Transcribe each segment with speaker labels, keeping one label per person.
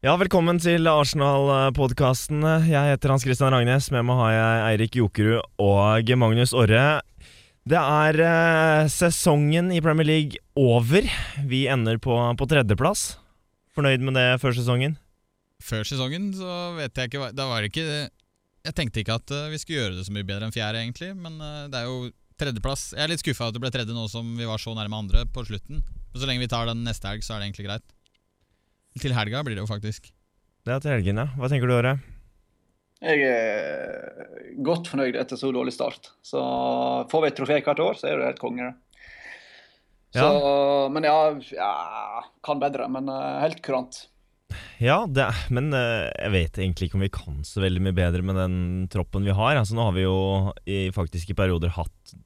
Speaker 1: Ja, velkommen til Arsenal-podkasten. Jeg heter Hans Christian Ragnes. Med meg har jeg Eirik Jokerud og Magnus Orre. Det er eh, sesongen i Premier League over. Vi ender på, på tredjeplass. Fornøyd med det før sesongen?
Speaker 2: Før sesongen så vet jeg ikke hva- Da var det ikke Jeg tenkte ikke at eh, vi skulle gjøre det så mye bedre enn fjerde, egentlig. Men eh, det er jo tredjeplass. Jeg er litt skuffa at det ble tredje nå som vi var så nærme andre på slutten. Men så lenge vi tar den neste helg, så er det egentlig greit. Til helga blir det jo faktisk.
Speaker 1: Det er til helgen, ja. Hva tenker du, Åre?
Speaker 3: Jeg er godt fornøyd etter så dårlig start. Så får vi et trofé hvert år, så er det helt konge. det. Så, Men ja, ja Kan bedre, men eh, helt kurant.
Speaker 1: Ja, det er, men eh, jeg vet egentlig ikke om vi kan så veldig mye bedre med den troppen vi har. Altså, nå har vi jo i faktiske perioder hatt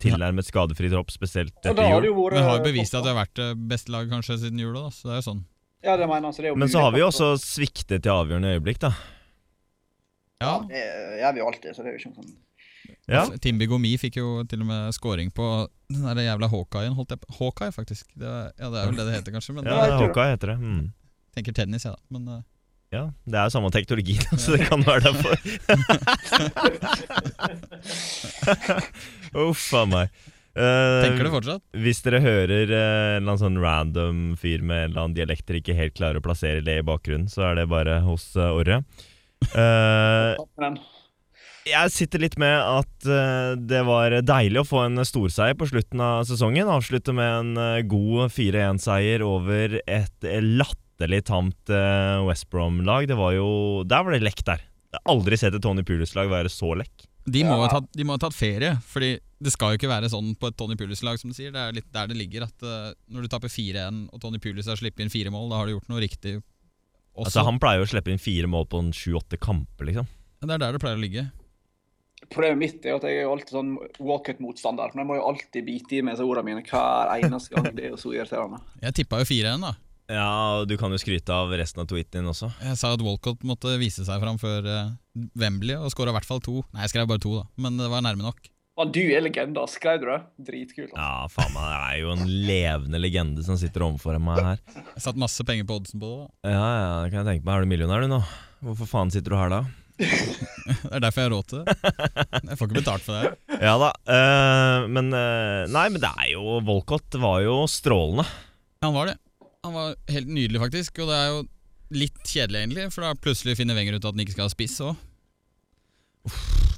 Speaker 1: tilnærmet skadefri tropp, spesielt
Speaker 3: Og
Speaker 1: etter jul.
Speaker 3: det jo vært-
Speaker 2: Men har jo bevist at vi har vært det beste laget kanskje siden jula, da. Så det er jo sånn.
Speaker 3: Ja, det mener jeg, så det er jo
Speaker 1: Men så har vi jo
Speaker 3: mulighet for-
Speaker 1: også sviktet i avgjørende øyeblikk, da.
Speaker 2: Ja. Altså,
Speaker 3: Det gjør vi jo alltid, så det er jo ikke noe sånn
Speaker 1: Ja,
Speaker 2: Timby Gomi fikk jo til og med scoring på den der jævla Hawkeye-en, holdt jeg på. Hawkeye, faktisk. Det er, ja, det er vel det det heter, kanskje. Men
Speaker 1: ja
Speaker 2: jeg
Speaker 3: jeg tror det.
Speaker 1: Håka heter det. Mm.
Speaker 2: tenker tennis, jeg, ja, da. Men eh,
Speaker 1: Ja, Det er jo samme teknologi, da, så det kan være derfor. Uff a meg. Eh,
Speaker 2: tenker det fortsatt?
Speaker 1: hvis dere hører eh, en eller annen sånn random fyr med en eller annen dialekt dere ikke helt klarer å plassere det i bakgrunnen, så er det bare hos eh, Orre. Eh,
Speaker 3: tatt med den.
Speaker 1: jeg sitter litt med at eh, det var deilig å få en storseier på slutten av sesongen. Avslutte med en eh, god 4-1-seier over et latterlig tamt eh, West Brom-lag. Det var jo Der var det lekk der. Jeg har aldri sett et Tony Pulis-lag være så lekk.
Speaker 2: De må,
Speaker 3: Ja.
Speaker 2: ha tatt, de må ha tatt ferie, Fordi det skal jo ikke være sånn på et Tony Pulis-lag, som du sier. Det er litt der det ligger, at eh, når du taper 4-1 og Tony Pulis har sluppet inn fire mål, da har du gjort noe riktig også.
Speaker 1: Altså, han pleier jo å slippe inn fire mål på en sju-åtte kamper, liksom.
Speaker 2: Det er der det pleier å ligge.
Speaker 3: Problemet mitt er at jeg er jo alltid sånn walkout-motstander. Men jeg må jo alltid bite i meg disse ordene mine hver eneste gang. Det er jo så irriterende.
Speaker 2: Jeg tippa jo 4-1, da.
Speaker 1: Ja, og du kan jo skryte av resten av tweeten din også.
Speaker 2: Jeg sa at Walcott måtte vise seg fram før eh, Wembley og skåra i hvert fall to. Nei, jeg skrev bare to, da, men det var nærme nok.
Speaker 3: Men du er legenda. Skrev du det? Dritkult. altså.
Speaker 1: Ja, faen meg, det er jo en levende legende som sitter overfor meg her.
Speaker 2: Jeg satt masse penger på oddsen på det. da.
Speaker 1: Ja, ja, det kan jeg tenke meg. Er du millionær, du, nå? Hvorfor faen sitter du her da?
Speaker 2: Det er derfor jeg har råd til det. Jeg får ikke betalt for det.
Speaker 1: Ja da, eh, men eh, Nei, men det er jo Volcott var jo strålende.
Speaker 2: Han var det. Han var helt nydelig, faktisk. Og det er jo litt kjedelig, egentlig, for da plutselig finner Wenger ut at han ikke skal ha spiss òg.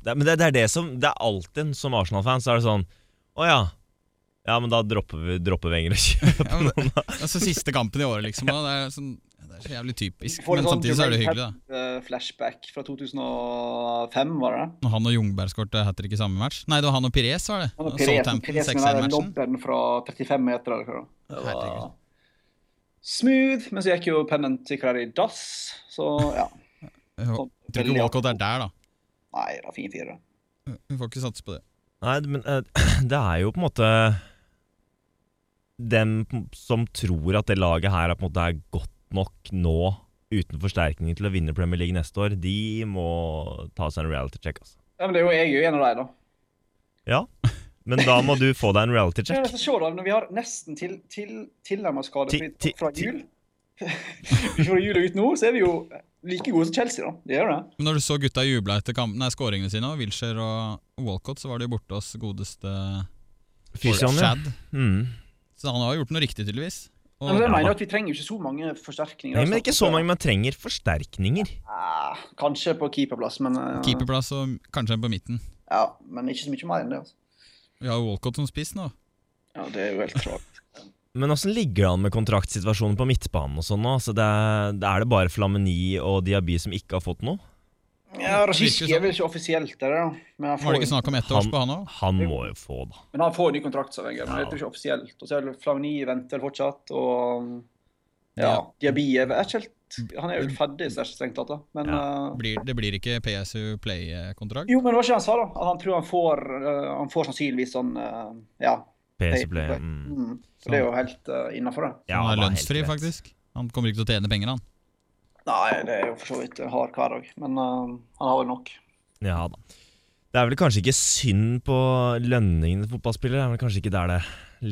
Speaker 1: Det, men det, det er det som Det er alltid som Arsenal-fan, så er det sånn Å ja. Ja, men da dropper vi dropper Wenger og kjøper
Speaker 2: Ja, men
Speaker 1: noen, da.
Speaker 2: Altså Siste kampen i året, liksom. Og det, er sånn, det er så jævlig typisk.
Speaker 3: Får litt
Speaker 2: Men
Speaker 3: sånn
Speaker 2: samtidig så er det
Speaker 3: Jermaine
Speaker 2: hyggelig, da.
Speaker 3: Eh, flashback fra 2005, var det?
Speaker 2: Når han og Jungberg skårte hat trick i samme match. Nei, det var han og Pires, var det.
Speaker 3: Han og Perez,
Speaker 2: Southampton
Speaker 3: Perez med den
Speaker 2: 6-1-matchen.
Speaker 3: lobben fra 35 meter. Eller hva det var. det var
Speaker 2: Herregud.
Speaker 3: smooth, men så gikk jo pennen til hverandre i dass. Så ja.
Speaker 2: Jeg Tror ikke Walcott er der, da.
Speaker 3: Nei, det var fin fire.
Speaker 2: Vi får ikke satse på det.
Speaker 1: Nei, men eh, det er jo på en måte Dem som tror at det laget her er på en måte er godt nok nå, uten forsterkninger til å vinne Premier League neste år, de må ta seg en reality check, altså.
Speaker 3: Ja, men det er jo jeg er jo en av dem, da.
Speaker 1: Ja, men da må du få deg en reality
Speaker 3: Ja,
Speaker 1: check.
Speaker 3: altså, se da, når vi har nesten til, til, tilnærmet skadefri
Speaker 1: Ti- ti-
Speaker 3: fra
Speaker 1: ti-
Speaker 3: jul Fra jul og ut nå, så er vi jo like gode som Chelsea, da. Det er jo det.
Speaker 2: Men når du så gutta jubla etter kampen, nei, skåringene sine, og Wilshere og Walcott, så var de jo borte hos godeste
Speaker 1: Fysioen, ja.
Speaker 2: Shad.
Speaker 1: Mm.
Speaker 2: Så han har gjort noe riktig, tydeligvis. Og,
Speaker 3: Men jeg
Speaker 1: ja,
Speaker 3: mener
Speaker 1: da.
Speaker 3: jeg at vi trenger jo ikke så mange forsterkninger. altså.
Speaker 1: Nei, men ikke så mange man trenger forsterkninger.
Speaker 3: Ah, kanskje på keeperplass, men eh,
Speaker 2: Keeperplass og kanskje en på midten.
Speaker 3: Ja, men ikke så mye mer enn det. altså.
Speaker 2: Vi har jo Walcott som spiss nå.
Speaker 3: Ja, Det er jo helt klart.
Speaker 1: Men åssen ligger det an med kontraktsituasjonen på midtbanen og sånn nå? Altså, det er, det er det bare Flamini og Diaby som ikke har fått noe?
Speaker 3: Ja, Rashiski
Speaker 2: Virker
Speaker 3: er vel ikke offisielt der, da. Men han
Speaker 2: Var
Speaker 3: får,
Speaker 2: det ikke snakk om ett
Speaker 1: Han-
Speaker 2: års på han òg?
Speaker 1: Han må jo få, da.
Speaker 3: men han får ny kontrakt, sa Wenger. Men
Speaker 1: Ja.
Speaker 3: det er ikke offisielt. Og så er det Flavni venter vel fortsatt, og ja, Diaby er vel er ikke helt Han er jo ferdig, så det er ikke strengt tatt, da. Men eh,
Speaker 2: Blir, det blir ikke PSU Play-kontrakt?
Speaker 3: jo, men det var ikke det han sa, da. At han tror han får eh, Han får sannsynligvis sånn eh, Ja.
Speaker 1: PC
Speaker 3: Play-
Speaker 1: ble
Speaker 3: Play.
Speaker 1: mm.
Speaker 3: Mm. Så det er jo helt uh, innafor, det.
Speaker 1: Ja,
Speaker 2: han er
Speaker 1: det helt
Speaker 2: lønnsfri,
Speaker 1: greit.
Speaker 2: faktisk. Han kommer ikke til å tjene penger, han.
Speaker 3: Nei, det er jo for så vidt en hard hverdag, men eh, han har vel nok.
Speaker 1: Ja da. Det er vel kanskje ikke synd på lønningene til fotballspillere. Det er vel kanskje ikke der det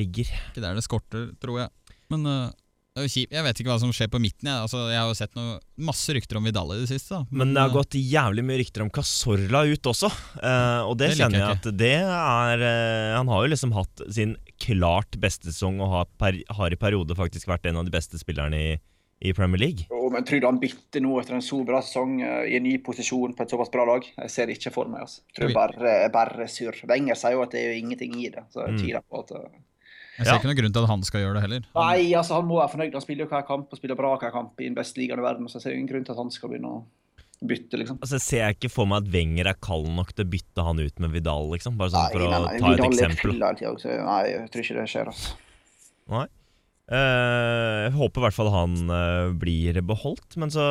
Speaker 1: ligger.
Speaker 2: Ikke der det skorter, tror jeg. Men eh, Det er jo kjipt. Jeg vet ikke hva som skjer på midten. Jeg, altså, jeg har jo sett noe, masse rykter om Vidal i det siste. Da. eh,
Speaker 1: Men
Speaker 3: Mm.
Speaker 1: det har gått jævlig mye rykter om Casorla ut også, eh, og det,
Speaker 2: Det liker
Speaker 1: kjenner jeg
Speaker 2: jeg
Speaker 1: at det er eh, Han har jo liksom hatt sin klart beste sesong og har, per, har i periode faktisk vært en av de beste spillerne i, i Premier League.
Speaker 3: Jo, men tror du han bytter nå etter en så bra sesong eh, i en ny posisjon på et såpass bra lag? Jeg ser det ikke for meg. altså. Jeg tror
Speaker 2: Oi.
Speaker 3: bare, bare surr. Wenger sier jo at det er jo ingenting i det.
Speaker 1: Mm.
Speaker 3: så jeg tviler på at... eh,
Speaker 2: Jeg ser
Speaker 1: Ja.
Speaker 2: ikke noen grunn til at han skal gjøre det heller.
Speaker 3: Nei, altså han må være fornøyd. Han spiller jo hver kamp og spiller bra hver kamp i den beste ligaen i verden. Så jeg ser ingen grunn til at han skal begynne å bytte, liksom.
Speaker 1: Altså, jeg ser jeg ikke for meg at Wenger er kald nok til å bytte han ut med Vidal, liksom. Bare sånn
Speaker 3: Nei,
Speaker 1: for å
Speaker 3: nei, nei,
Speaker 1: ta et
Speaker 3: Vidal er
Speaker 1: eksempel.
Speaker 3: full hele tiden, så altså. Nei, jeg tror ikke det skjer, altså.
Speaker 1: Eh, jeg håper i hvert fall han eh, blir beholdt, men så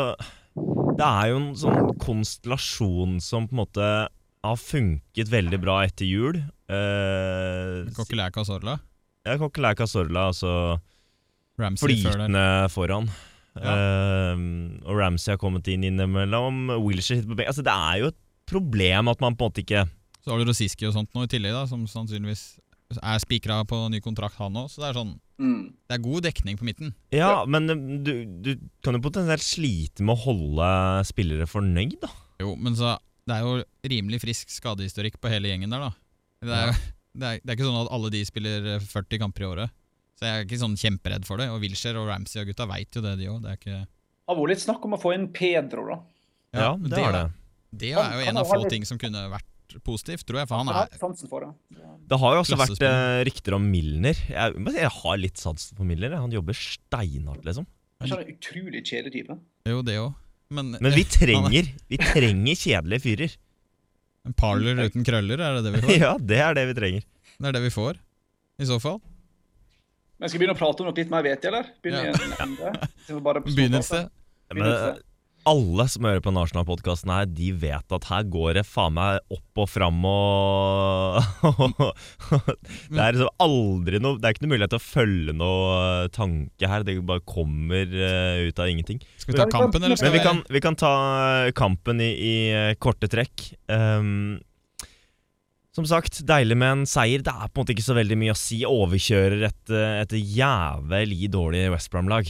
Speaker 1: Det er jo en sånn konstellasjon som på en måte har funket veldig bra etter jul. Eh,
Speaker 2: Coquelin Casorla.
Speaker 1: ja, Coquelin Cazorla, altså
Speaker 2: Ramsey før der.
Speaker 1: flytende foran. Eh, og Ramsey har kommet inn innimellom. Wilshere sitter på benken. Altså, det er jo et problem at man på en måte ikke
Speaker 2: Så har du Rosiski og sånt nå i tillegg, da, som sannsynligvis er spikra på ny kontrakt, han òg. Så det er sånn
Speaker 3: Mm.
Speaker 2: Det er god dekning på midten.
Speaker 1: Ja, men eh, du, du kan jo potensielt slite med å holde spillere fornøyd, da.
Speaker 2: Jo, men så Det er jo rimelig frisk skadehistorikk på hele gjengen der, da. Det er, det er, det er ikke sånn at alle de spiller eh, 40 kamper i året. Så jeg er ikke sånn kjemperedd for det. Og Wilshere og Ramsey og gutta veit jo det, de òg. Det er ikke
Speaker 3: Det har vært litt snakk om å få inn Pedro, da.
Speaker 1: Ja, det, er det.
Speaker 2: Det er
Speaker 3: Han-
Speaker 2: jo
Speaker 3: han
Speaker 2: en av
Speaker 3: har
Speaker 2: få
Speaker 3: litt-
Speaker 2: ting som kunne vært positivt, tror jeg. For han
Speaker 3: Jeg
Speaker 2: er
Speaker 3: har sansen for det.
Speaker 1: Det har jo også vært eh,
Speaker 2: Klassespiller.
Speaker 1: rykter om Milner. Jeg, men jeg har litt sans for Milner. jeg. Han jobber steinhardt, liksom.
Speaker 3: Jeg skjønner, utrolig kjedelig type.
Speaker 2: er jo det òg. Men,
Speaker 1: Men vi trenger vi trenger kjedelige fyrer.
Speaker 2: en parlor uten krøller, er det det vi får?
Speaker 1: Ja, det er det vi trenger.
Speaker 2: Det er det vi får, i så fall.
Speaker 3: Men skal vi begynne å prate om noe litt mer vete, eller? Begynne
Speaker 2: Ja.
Speaker 3: i en ende? Så vi bare på
Speaker 2: Begynn et
Speaker 3: småprat,
Speaker 2: sted.
Speaker 1: Men eh, alle som hører på Nasjonalpodkasten her, de vet at her går det faen meg opp og fram og Det er liksom aldri noe Det er ikke noe mulighet til å følge noe eh, tanke her. Det bare kommer eh, ut av ingenting.
Speaker 2: Skal vi ta kampen, eller
Speaker 1: Men
Speaker 2: skal
Speaker 1: vi kan, vi kan ta eh, kampen i, i eh, korte trekk. Ehm, som sagt, deilig med en seier. Det er på en måte ikke så veldig mye å si. Overkjører et, eh, et jævlig dårlig West Brom-lag.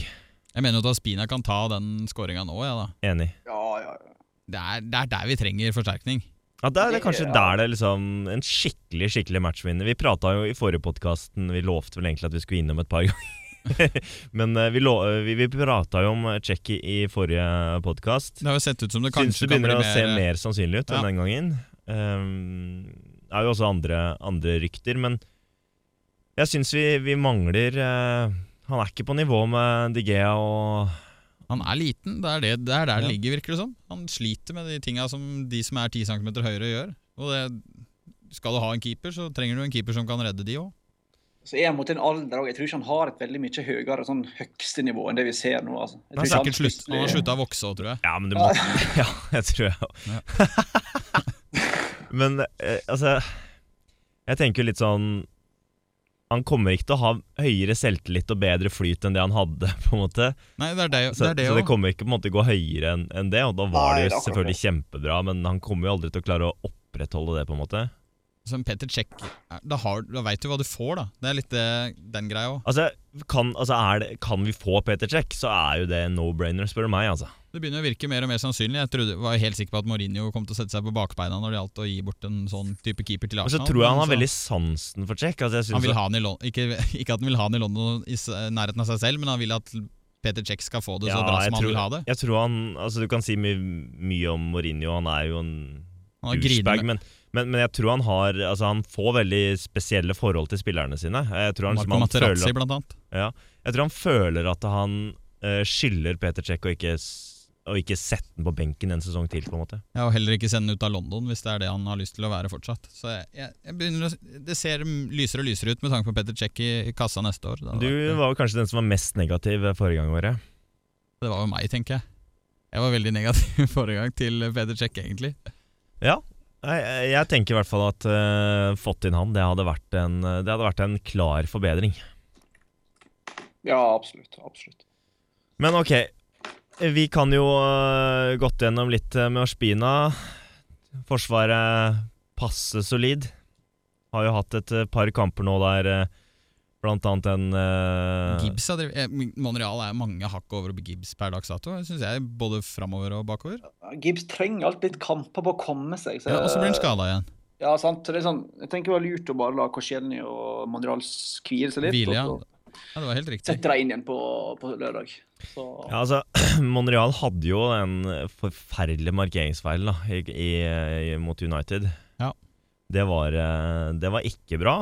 Speaker 2: Jeg mener jo at Aspina kan ta den skåringa nå, ja da.
Speaker 1: Enig.
Speaker 3: Ja, ja, ja.
Speaker 2: Det er, det er der vi trenger forsterkning.
Speaker 1: Ja, Det er det kanskje
Speaker 3: Ja.
Speaker 1: der det liksom En skikkelig skikkelig matchvinner. Vi prata jo i forrige podkasten Vi lovte vel egentlig at vi skulle innom et par ganger. Men eh, vi, lo- eh, vi, vi prata jo om Tsjekki i forrige podkast.
Speaker 2: Det har jo sett ut som det
Speaker 1: Syns
Speaker 2: kanskje
Speaker 1: det
Speaker 2: kan bli
Speaker 1: begynner å se
Speaker 2: mer, eh,
Speaker 1: mer sannsynlig ut
Speaker 2: Ja.
Speaker 1: enn den gangen. Ehm, Det er jo også andre, andre rykter, men jeg syns vi, vi mangler eh, Han er ikke på nivå med De Gea og
Speaker 2: Han er liten, det er, det, det er der det
Speaker 1: Ja.
Speaker 2: ligger, virker det som. Han sliter med de tinga som de som er 10 cm høyere, gjør. Og det, skal du ha en keeper, så trenger du en keeper som kan redde de òg.
Speaker 3: Så er han mot en alder òg. Jeg tror ikke han har et veldig mye høyere sånn høyeste nivå enn det vi ser nå. altså.
Speaker 1: Men
Speaker 3: Jeg tror ikke
Speaker 2: Sikkert slutt, han har slutta å vokse òg, tror jeg.
Speaker 1: Ja, men du må Ja, jeg tror jeg Men eh, altså Jeg tenker jo litt sånn Han kommer ikke til å ha høyere selvtillit og bedre flyt enn det han hadde, på en måte.
Speaker 2: Nei, det er det,
Speaker 1: Så
Speaker 2: det,
Speaker 1: så
Speaker 2: er det,
Speaker 1: det,
Speaker 2: også.
Speaker 1: kommer ikke på en måte gå høyere enn enn det, og da var
Speaker 3: Nei,
Speaker 1: det jo
Speaker 3: det er akkurat
Speaker 1: selvfølgelig kjempebra, men han kommer jo aldri til å klare å opprettholde det, på en måte.
Speaker 2: Som Petter Check, da, har- da veit du hva du får, da. Det er litt det, den greia òg.
Speaker 1: Altså, kan, altså er det, kan vi få Peter Check, så er jo det en no-brainer, spør du meg, altså.
Speaker 2: Det begynner å virke mer og mer sannsynlig. Jeg trodde, var helt sikker på at Mourinho kom til å sette seg på bakbeina når det gjaldt å gi bort en sånn type keeper til
Speaker 1: Og så
Speaker 2: Arsenal.
Speaker 1: tror jeg han
Speaker 2: men
Speaker 1: har
Speaker 2: så-
Speaker 1: veldig sansen for Check. Altså, jeg
Speaker 2: han
Speaker 1: synes
Speaker 2: vil
Speaker 1: at-
Speaker 2: ha han i Lon- ikke, ikke at han vil ha han i London i s- nærheten av seg selv, men han vil at Peter Check skal få det
Speaker 1: Ja,
Speaker 2: så bra
Speaker 1: jeg
Speaker 2: som han
Speaker 1: tror-
Speaker 2: vil ha det.
Speaker 1: Jeg tror han, altså Du kan si my mye om Mourinho, han er jo en
Speaker 2: Han har
Speaker 1: douchebag,
Speaker 2: grinet
Speaker 1: men,
Speaker 2: med
Speaker 1: men, men jeg tror han har Altså han får veldig spesielle forhold til spillerne sine. Jeg tror han, liksom,
Speaker 2: Marco
Speaker 1: han, føler,
Speaker 2: Materazzi,
Speaker 1: at,
Speaker 2: blant annet.
Speaker 1: jeg tror han føler at han eh, skylder Peter Check å ikke, s- å ikke sette den på benken en sesong til, på en måte.
Speaker 2: Ja, og heller ikke sende den ut av London, hvis det er det han har lyst til å være fortsatt. Så jeg, jeg, jeg begynner å, s- Det ser lysere og lysere ut med tanke på Peter Check i, i kassa neste år. Det, hadde
Speaker 1: Du
Speaker 2: vært-
Speaker 1: var jo kanskje den som var mest negativ eh, forrige gang, Åre.
Speaker 2: det var jo meg, tenker jeg. Jeg var veldig negativ forrige gang til Peter Check, egentlig.
Speaker 1: Nei, eh, jeg- jeg tenker i hvert fall at eh, fått inn han, det hadde vært en, eh, det hadde vært en klar forbedring.
Speaker 3: Ja, absolutt. absolutt.
Speaker 1: Men ok, vi kan jo øh, gått gjennom litt øh, med Ospina. eh, Forsvaret passe solid. Har jo hatt et øh, par kamper nå der øh, Blant annet en eh,
Speaker 2: Gibbs har drevet, eh, Monreal er mange hakk over å bli Gibbs per dags dato, syns jeg. Både framover og bakover.
Speaker 3: Gibbs trenger alt litt kamper på å komme seg. Så,
Speaker 2: Ja, og så blir han skada igjen.
Speaker 3: Ja, sant. Så Det er sånn, jeg tenker det var lurt å bare la Korsielny og Monreal hvile seg litt.
Speaker 2: Hvile, ja.
Speaker 3: Og så
Speaker 2: Ja, det var helt riktig.
Speaker 3: setter de inn igjen på, på lørdag. Så,
Speaker 1: Ja, altså, Monreal hadde jo den forferdelige markeringsfeilen da, i, i, i, mot United.
Speaker 2: Ja.
Speaker 1: Det var, eh, det var ikke bra.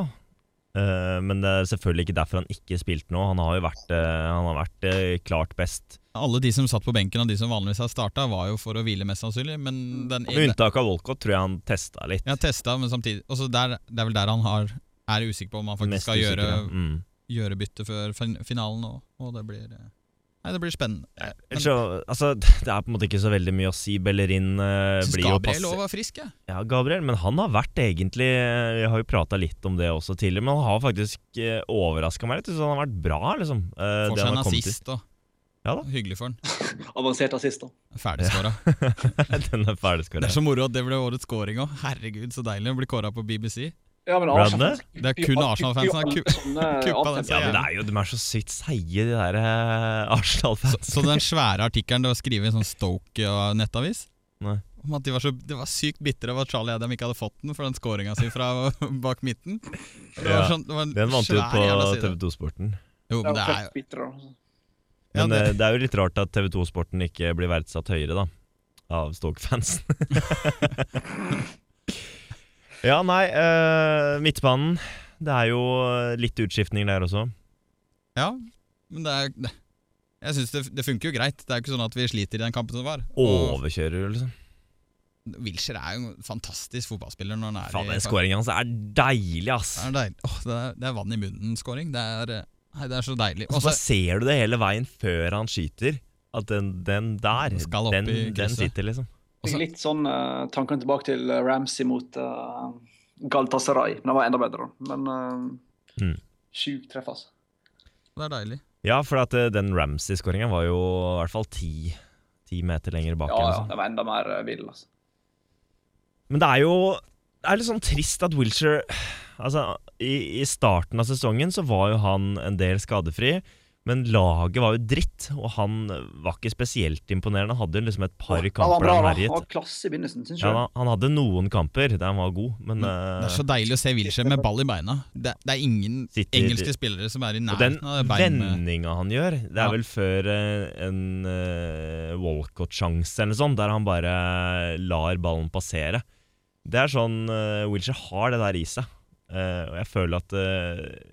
Speaker 1: Eh, men det er selvfølgelig ikke derfor han ikke spilte nå. Han har jo vært, eh, han har vært eh, klart best.
Speaker 2: Alle de som satt på benken, og de som vanligvis har starta, var jo for å hvile, mest sannsynlig. Men den
Speaker 1: Med unntak av Walcott tror jeg han testa litt.
Speaker 2: Jeg har testa, men samtidig Og så der, Det er vel der han har, er usikker på om han faktisk
Speaker 1: Mest
Speaker 2: skal gjøre,
Speaker 1: usikker, Mm.
Speaker 2: gjøre bytte før fin- finalen. Og, og det blir eh, Nei, det blir spennende. Men
Speaker 1: Ellers så, altså, det er på en måte ikke så veldig mye å si. Bellerin eh,
Speaker 2: syns
Speaker 1: blir jo
Speaker 2: Gabriel
Speaker 1: passiv.
Speaker 2: òg var frisk, jeg.
Speaker 1: Ja, Gabriel, men han har vært egentlig Vi har jo prata litt om det også tidligere, men han har faktisk overraska meg litt. Så han har vært bra, liksom. eh,
Speaker 2: Får
Speaker 1: det
Speaker 2: seg
Speaker 1: han
Speaker 2: en
Speaker 1: har kommet til.
Speaker 2: assist og
Speaker 1: Ja da.
Speaker 2: Hyggelig for han.
Speaker 3: Avansert assist, da.
Speaker 2: Ferdigskåra.
Speaker 1: Den er ferdig
Speaker 2: Det
Speaker 1: skåra.
Speaker 2: er så moro at det ble årets scoring òg. Herregud, så deilig å bli kåra på BBC.
Speaker 3: Ja, men
Speaker 1: Ble han
Speaker 3: Arsenal-
Speaker 1: det?
Speaker 2: Det er kun
Speaker 3: Jo,
Speaker 2: Arsenal-fans som har
Speaker 3: jo,
Speaker 2: ku-
Speaker 3: sånne
Speaker 2: kuppa den
Speaker 1: Ja, men
Speaker 3: avtenninger.
Speaker 1: det
Speaker 2: seieren.
Speaker 1: er jo, de er så sykt seige, de der eh,
Speaker 2: Så,
Speaker 1: Arsenal-fansen.
Speaker 2: så den svære artikkelen det var skrevet i en sånn Stoke-nettavis
Speaker 1: Nei.
Speaker 2: om at de var, så, de var sykt bitre over at Charlie Adam ikke hadde fått den for den skåringa si fra bak midten. Det var
Speaker 1: Ja,
Speaker 2: sånn, det var en
Speaker 1: Den vant jo
Speaker 2: svær
Speaker 1: på
Speaker 2: jævla side.
Speaker 1: TV2 Sporten.
Speaker 2: Jo, men det
Speaker 3: Det er
Speaker 2: er
Speaker 3: jo
Speaker 2: jo
Speaker 3: bitter, da.
Speaker 2: ja,
Speaker 1: Men
Speaker 2: det,
Speaker 1: eh, det er jo litt rart at TV2 Sporten ikke blir verdsatt høyere, da. Av Stoke-fansen. ja, nei, eh, midtbanen. Det er jo eh, litt utskiftninger der også.
Speaker 2: ja, men det er det. Jeg syns det, det funker jo greit. Det er jo ikke sånn at vi sliter i den kampen som var. Og
Speaker 1: Overkjører, liksom.
Speaker 2: Wilshere er jo en fantastisk fotballspiller når han er
Speaker 1: Faen, den
Speaker 2: i
Speaker 1: skåringen hans er deilig, ass!
Speaker 2: Det er, deilig. Åh, det, er, det er vann i munnen-skåring. Det, er, eh, nei, det er så deilig.
Speaker 1: Og så ser du det hele veien før han skyter. At den, den der,
Speaker 2: Den skal opp
Speaker 1: den,
Speaker 2: i krysset.
Speaker 1: den sitter, liksom.
Speaker 2: Og så-
Speaker 3: Fikk litt sånn eh, tankene tilbake til eh, Ramsey mot uh, Galtasaray. Men han var enda bedre, da. Men uh,
Speaker 1: Mm.
Speaker 3: sjukt treff, altså.
Speaker 2: det er deilig.
Speaker 1: Ja, for at eh, den Ramsey-skåringen var jo i hvert fall ti, ti meter lenger bak.
Speaker 3: Ja,
Speaker 1: eller
Speaker 3: ja,
Speaker 1: sånn.
Speaker 3: det var enda mer eh, vill, altså.
Speaker 1: Men det er jo det er litt sånn trist at Wilshere Altså, i, i starten av sesongen så var jo han en del skadefri. Men laget var jo dritt, og han var ikke spesielt imponerende. Han hadde jo liksom et par
Speaker 3: Han var
Speaker 1: kamper
Speaker 3: bra,
Speaker 1: der han
Speaker 3: da. Han
Speaker 1: herjet.
Speaker 3: var klasse i begynnelsen, syns
Speaker 1: Ja,
Speaker 3: jeg.
Speaker 1: han, han hadde noen kamper der han var god, men
Speaker 2: Mm. Det er
Speaker 1: eh,
Speaker 2: så deilig å se Wilshere med ball i beina. Det, det er ingen
Speaker 1: Sitter-
Speaker 2: engelske spillere som er i
Speaker 1: Og den
Speaker 2: nærheten av det beinet.
Speaker 1: vendinga han gjør, det er
Speaker 2: Ja.
Speaker 1: vel før eh, en eh, Walcott-sjanse eller noe sånt, der han bare lar ballen passere. Det er sånn uh, Wilshere har det der i seg. Eh, og jeg føler at eh,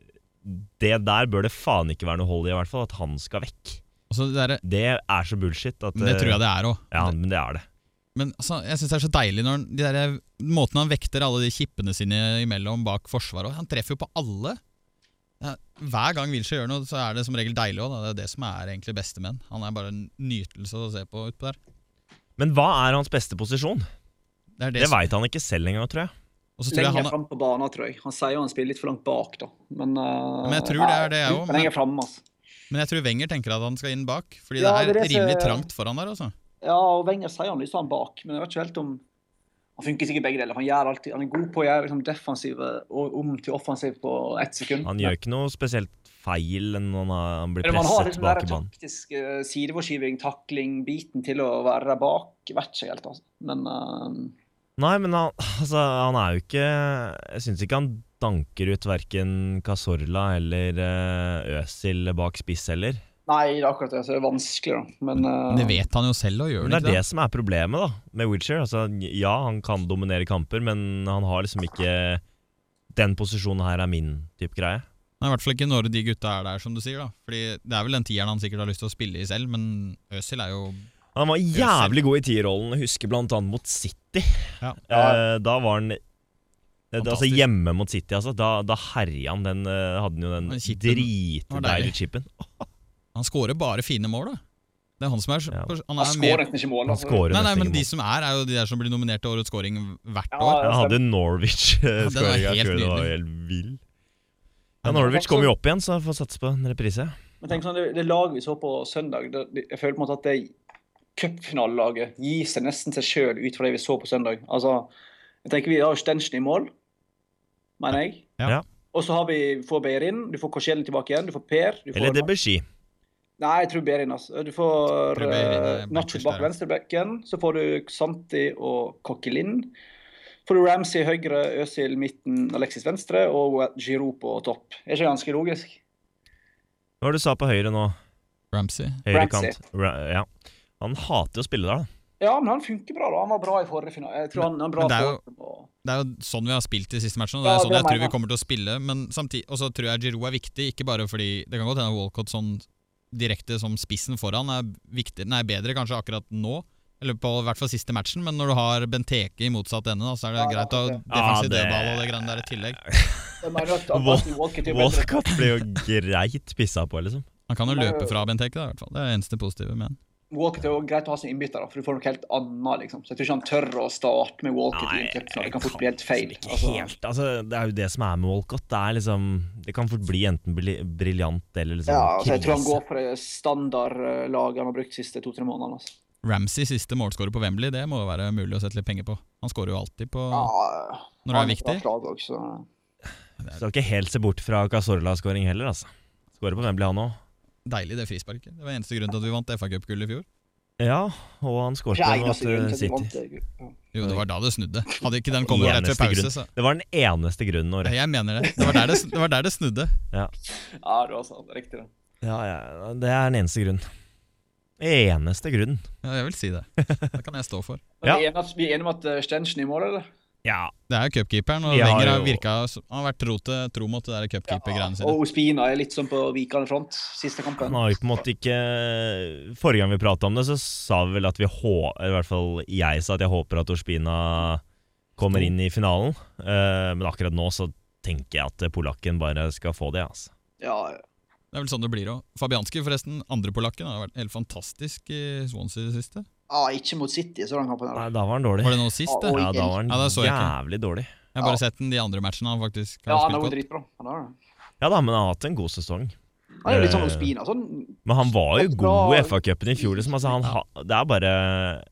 Speaker 1: det der bør det faen ikke være noe hold i, i hvert fall. At han skal vekk.
Speaker 2: Og så det, der,
Speaker 1: Det er så bullshit. At, eh,
Speaker 2: men det tror jeg det er òg.
Speaker 1: Ja, men det er det.
Speaker 2: Men altså, jeg syns det er så deilig når han- de der, måten han vekter alle de kippene sine imellom bak forsvaret Han treffer jo på alle. Ja, hver gang Wilshere gjør noe, så er det som regel deilig òg. Det er det som er egentlig beste med han. Han er bare en nytelse å se på utpå der.
Speaker 1: Men hva er hans beste posisjon?
Speaker 2: Det er det,
Speaker 1: Det
Speaker 2: som-
Speaker 1: veit han ikke selv engang, tror jeg.
Speaker 2: og så tror jeg
Speaker 3: Lenger
Speaker 2: han
Speaker 3: frem på banen, tror jeg. Han sier jo han spiller litt for langt bak, da. Men, eh,
Speaker 2: Men jeg tror det er det jeg
Speaker 3: nei,
Speaker 2: også, men-
Speaker 3: Lenger frem, altså.
Speaker 2: Men jeg tror Wenger tenker at han skal inn bak, fordi det
Speaker 3: Ja,
Speaker 2: er
Speaker 3: det er det som-
Speaker 2: rimelig trangt foran der. altså
Speaker 3: Ja, og Wenger sier han lyser han bak, men jeg vet ikke helt om Han funker sikkert begge deler. for Han, gjør alltid, han er god på å gjøre liksom, defensive og om til offensiv på ett sekund.
Speaker 1: Han gjør ikke noe spesielt feil enn han, har- han blir
Speaker 3: Eller man har
Speaker 1: presset
Speaker 3: liksom den
Speaker 1: tilbake
Speaker 3: der
Speaker 1: i banen.
Speaker 3: taktisk eh, sideforskyving, takling, biten til å være der bak. Vet ikke helt, altså. Men eh,
Speaker 1: Nei, men han, altså, han er jo ikke Jeg syns ikke han danker ut verken Casorla eller eh, Øsil bak spiss heller.
Speaker 3: nei, det er akkurat det. Så det er vanskelig, da. Men eh,
Speaker 2: Det vet han jo selv og gjør
Speaker 1: Men det
Speaker 2: det
Speaker 1: er
Speaker 2: ikke.
Speaker 1: det som er problemet da med Wilshere. Altså, ja, han kan dominere kamper, men han har liksom ikke Den posisjonen her er min type greie.
Speaker 2: Det. Nei, I hvert fall ikke når de gutta er der, som du sier. da Fordi Det er vel den tieren han sikkert har lyst til å spille i selv, men Øzil er jo
Speaker 1: Han var jævlig god i tierrollen, jeg husker blant annet mot City.
Speaker 2: Ja.
Speaker 1: Eh, da var han eh, Altså
Speaker 2: Fantastisk.
Speaker 1: hjemme mot City, altså. Da, da herja han den eh, Hadde han jo den
Speaker 2: Den chipen. Den var deilig.
Speaker 1: dritdeilige chipen.
Speaker 2: Han skårer bare fine mål, da. Det er han som er,
Speaker 1: Ja.
Speaker 2: han
Speaker 3: han
Speaker 2: er
Speaker 3: skårer
Speaker 2: med
Speaker 3: nesten ikke mål.
Speaker 1: Han
Speaker 3: Altså.
Speaker 1: skårer
Speaker 2: Nei, nei,
Speaker 1: nesten
Speaker 2: men
Speaker 1: ingen
Speaker 2: de
Speaker 1: mål.
Speaker 2: som er, er jo de der som blir nominert til årets scoring hvert
Speaker 3: Ja,
Speaker 2: år.
Speaker 1: Han hadde
Speaker 2: Ja, den er
Speaker 1: Norwich-skåringa.
Speaker 2: helt
Speaker 1: det var
Speaker 2: nydelig.
Speaker 1: helt vill. Ja, Norwich kom jo opp igjen, så jeg får satse på en reprise.
Speaker 3: Men tenk sånn, det, det laget vi så på søndag, det, det, jeg føler på en måte at det cupfinalelaget gir seg nesten seg sjøl ut fra det vi så på søndag. Altså, jeg tenker Vi har jo Stenchen i mål, mener jeg.
Speaker 2: Ja.
Speaker 1: Ja.
Speaker 3: Og så har vi, vi får Beirin, du får Korsellen tilbake igjen, du får Per. Du får
Speaker 1: Eller Debussy.
Speaker 3: Nei, jeg tror Beirin, altså. Du får
Speaker 2: Tror Beirin er
Speaker 3: eh,
Speaker 2: backers
Speaker 3: Nacho bak
Speaker 2: der.
Speaker 3: venstrebekken. Så får du Santi og Kokkelin. Får du Ramsey høyre, Øzil midten, Alexis venstre og Giroud på topp. Er ikke det ganske logisk?
Speaker 1: Hva var det du sa på høyre nå?
Speaker 2: Ramsey.
Speaker 1: Høyrekant. Ra ja. Han hater jo å spille der, da.
Speaker 3: Ja, men han funker bra, da. Han var bra i forrige finale. Jeg tror han, han er bra
Speaker 2: men det er jo-
Speaker 3: form, og-
Speaker 2: Det er jo sånn vi har spilt de siste matchene. Og det
Speaker 3: Ja,
Speaker 2: er sånn
Speaker 3: det
Speaker 2: jeg tror
Speaker 3: mener
Speaker 2: vi
Speaker 3: jeg.
Speaker 2: kommer til å spille. Men samtidig, og så tror jeg Giroud er viktig, ikke bare fordi Det kan godt hende Walcott sånn direkte som spissen foran er, viktig, nei, bedre kanskje akkurat nå, eller på i hvert fall siste matchen, men når du har Benteke i motsatt ende, da, så er det
Speaker 3: Ja, det er
Speaker 2: greit å
Speaker 3: sant
Speaker 1: Ja,
Speaker 2: defensiv
Speaker 1: det-
Speaker 2: dødball og det greiene der i tillegg.
Speaker 3: Jeg mener at
Speaker 1: Wal-
Speaker 3: Walcott- Walcott er jo bedre.
Speaker 1: Walcott blir jo greit pissa på, liksom.
Speaker 2: Han kan jo
Speaker 3: Det er jo-
Speaker 2: løpe fra Benteke, da, i hvert fall. Det er det eneste positive med han.
Speaker 3: Walcott er jo greit å ha sine innbyttere, for du får noe helt annet. liksom. Så Jeg tror ikke han tør å starte med Walcott i en cupfinale. Det kan fort bli helt feil.
Speaker 1: liksom ikke
Speaker 3: Altså,
Speaker 1: Helt, altså, det er jo det som er med Walcott. Det, er liksom, det kan fort bli enten bli- briljant eller liksom
Speaker 3: ja, altså, jeg tror han
Speaker 1: krise.
Speaker 3: går for det standardlaget han har brukt de siste to-tre månedene. altså.
Speaker 2: Ramsey siste målskårer på Wembley, det må jo være mulig å sette litt penger på. Han skårer jo alltid på
Speaker 3: Ja,
Speaker 2: Når det er
Speaker 3: han
Speaker 2: viktig.
Speaker 3: et bra slag også, så.
Speaker 1: Skal ikke helt se bort fra Casorla-skåring heller, altså. Skårer på Wembley, han òg.
Speaker 2: Deilig, det frisparket. Det var eneste grunnen til at vi vant FA-cupgullet i fjor.
Speaker 1: Ja, og han skåret
Speaker 3: Ikke
Speaker 1: mot
Speaker 3: eneste grunn
Speaker 1: eh,
Speaker 3: til at de
Speaker 1: City.
Speaker 3: vant det. Ja.
Speaker 2: Jo, det var da det snudde. Hadde ikke den kommet rett før
Speaker 1: Eneste
Speaker 2: pause,
Speaker 1: grunn.
Speaker 2: så
Speaker 1: Det var den eneste grunnen, Åre.
Speaker 2: Nei, Jeg mener det. Det var der det, det, var der det snudde.
Speaker 3: ja, det var sant. Riktig. det.
Speaker 1: Ja, ja, det er den eneste grunnen. Eneste grunnen.
Speaker 2: Ja, jeg vil si det. Det kan jeg stå for.
Speaker 3: Men
Speaker 1: Ja.
Speaker 3: vi, er enige, om- vi er enige om at eh, Stenchen er i mål, eller?
Speaker 1: Ja,
Speaker 2: Det er jo cupkeeperen, og
Speaker 1: Vi har
Speaker 2: Wenger har,
Speaker 1: jo-
Speaker 2: virka, han har vært tro, til, tro mot det der cupkeeper-greiene sine.
Speaker 3: og Ospina er litt sånn på vikende front siste kampen.
Speaker 1: Han har jo på en måte ikke Forrige gang vi prata om det, så sa vi vel at vi hå... I hvert fall jeg sa at jeg håper at Ospina kommer inn i finalen. Eh, men akkurat nå så tenker jeg at polakken bare skal få det, altså.
Speaker 3: Ja, ja.
Speaker 2: Det er vel sånn det blir òg. Fabianski, forresten, andre polakken, har vært helt fantastisk i Swansea i det siste.
Speaker 3: Ah, ikke mot City, så den kampen.
Speaker 1: Nei,
Speaker 3: her.
Speaker 1: da var han dårlig.
Speaker 2: Var det nå sist, det?
Speaker 3: Oi.
Speaker 1: Ja, da var han
Speaker 2: Ja, det så jeg ikke.
Speaker 1: jævlig dårlig.
Speaker 2: Jeg har bare sett den de andre matchene han faktisk
Speaker 3: Ja,
Speaker 2: har
Speaker 3: han
Speaker 2: spilt
Speaker 3: har vært
Speaker 2: på.
Speaker 3: dritbra. Han har det.
Speaker 1: Ja da, men han har hatt en god sesong.
Speaker 3: Han er jo litt sånn
Speaker 1: Eh,
Speaker 3: Ospina. sånn
Speaker 1: Men han var jo god i
Speaker 3: Bra.
Speaker 1: FA-cupen i fjor, liksom. Altså, han ha, det er bare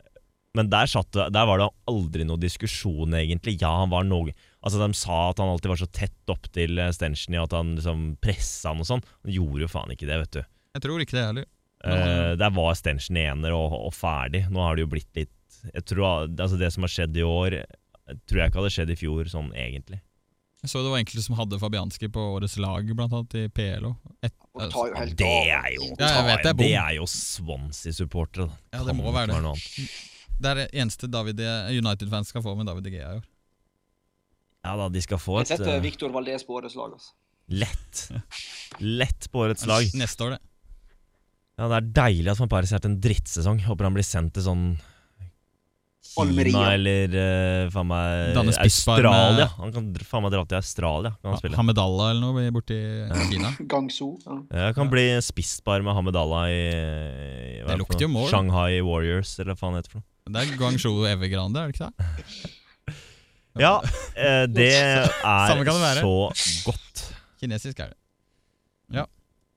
Speaker 1: Men der, satt, det- der var det aldri noe diskusjon, egentlig. Ja, han var noe Altså, de sa at han alltid var så tett opp til eh, Stenchen i at han liksom pressa han og sånn. Han gjorde jo faen ikke det, vet du.
Speaker 2: Jeg tror ikke det heller.
Speaker 1: Eh, der var Stenchen i ener og, og ferdig. Nå har det jo blitt litt Jeg tror Altså, det som har skjedd i år, eh, tror jeg ikke hadde skjedd i fjor, sånn egentlig.
Speaker 2: Jeg så det var enkelte som hadde Fabianski på årets lag, blant annet, i PLO. Et,
Speaker 3: Og tar jo
Speaker 1: Ja,
Speaker 3: helt
Speaker 1: det
Speaker 3: av.
Speaker 1: er jo
Speaker 2: Ja, jeg vet det er bom.
Speaker 1: Det er jo Swansea-supportere, da.
Speaker 2: ja, det
Speaker 1: Kan
Speaker 2: må
Speaker 1: ikke
Speaker 2: være det.
Speaker 1: noe annet.
Speaker 2: Det er det eneste David United-fans skal få med David De Gea i år.
Speaker 1: Ja da, de skal få
Speaker 3: Jeg
Speaker 1: et
Speaker 3: setter
Speaker 1: eh,
Speaker 3: Victor Valdez på årets lag. altså.
Speaker 1: Lett. Lett på årets lag.
Speaker 2: Neste år, det.
Speaker 1: Ja, Det er deilig at Van Paris har hatt en drittsesong. Håper han blir sendt til sånn Kina
Speaker 3: Almeria.
Speaker 1: eller eh, faen meg
Speaker 2: Danne spissbar med-
Speaker 1: Australia. Han kan dr- faen meg dra til Australia. Kan han spille.
Speaker 2: Hamedallah eller noe blir borti Kina.
Speaker 3: Gangso. Ja.
Speaker 1: Ja, kan bli spissbar med Hamed Allah i, i hva er
Speaker 2: Det
Speaker 1: for noe?
Speaker 2: lukter jo mål.
Speaker 1: Shanghai Warriors, eller hva faen det heter for noe.
Speaker 2: Det er Guangzhou Evergrande, er det ikke det?
Speaker 1: Ja, eh, det er
Speaker 2: Samme kan det være.
Speaker 1: så godt.
Speaker 2: Kinesisk er det.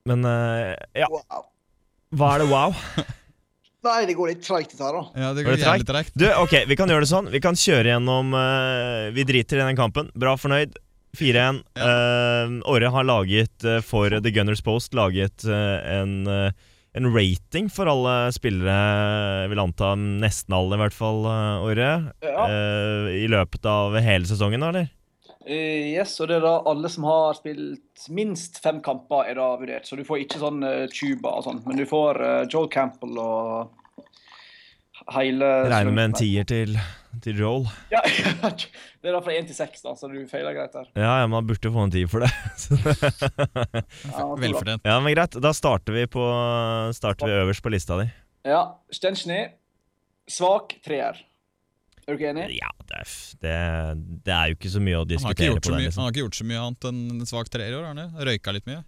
Speaker 1: Men eh, ja,
Speaker 3: Wow.
Speaker 1: hva er det wow?
Speaker 3: Nei, det går litt treigt, dette her, da.
Speaker 2: Ja, det
Speaker 1: Var
Speaker 2: går
Speaker 1: det
Speaker 2: jævlig treigt.
Speaker 1: Du, ok, vi kan gjøre det sånn. Vi kan kjøre gjennom eh, Vi driter i den kampen. Bra fornøyd. 4-1. Eh, Åre har laget eh, for The Gunners Post laget eh, en, eh, en rating for alle spillere. Jeg vil anta nesten alle, i hvert fall, eh, Åre.
Speaker 3: Ja.
Speaker 1: Eh, I løpet av hele sesongen, da, eller?
Speaker 3: Eh, yes, og det er da alle som har spilt minst fem kamper, er da vurdert. Så du får ikke sånn eh, tuba og sånn, men du får eh, Joel Campbell og hele
Speaker 1: Regner med en tier til, til Joel.
Speaker 3: Ja, det er da fra én til seks, da, så du feiler greit der.
Speaker 1: Ja, ja, man burde få en tier for det. Så det-
Speaker 3: Ja, og to, da.
Speaker 2: Velfortjent.
Speaker 1: ja, men greit. Da starter vi, på, starter vi øverst på lista di.
Speaker 3: Ja, Stenchny. Svak treer. Er du ikke enig?
Speaker 1: Ja, det er, det, det er jo ikke så mye å
Speaker 2: Han har, ikke
Speaker 1: diskutere
Speaker 2: gjort
Speaker 1: på
Speaker 2: så
Speaker 1: den.
Speaker 2: mye, han
Speaker 1: Liksom.
Speaker 2: har ikke gjort så mye annet enn en svak treer i år. har han det? Røyka litt mye.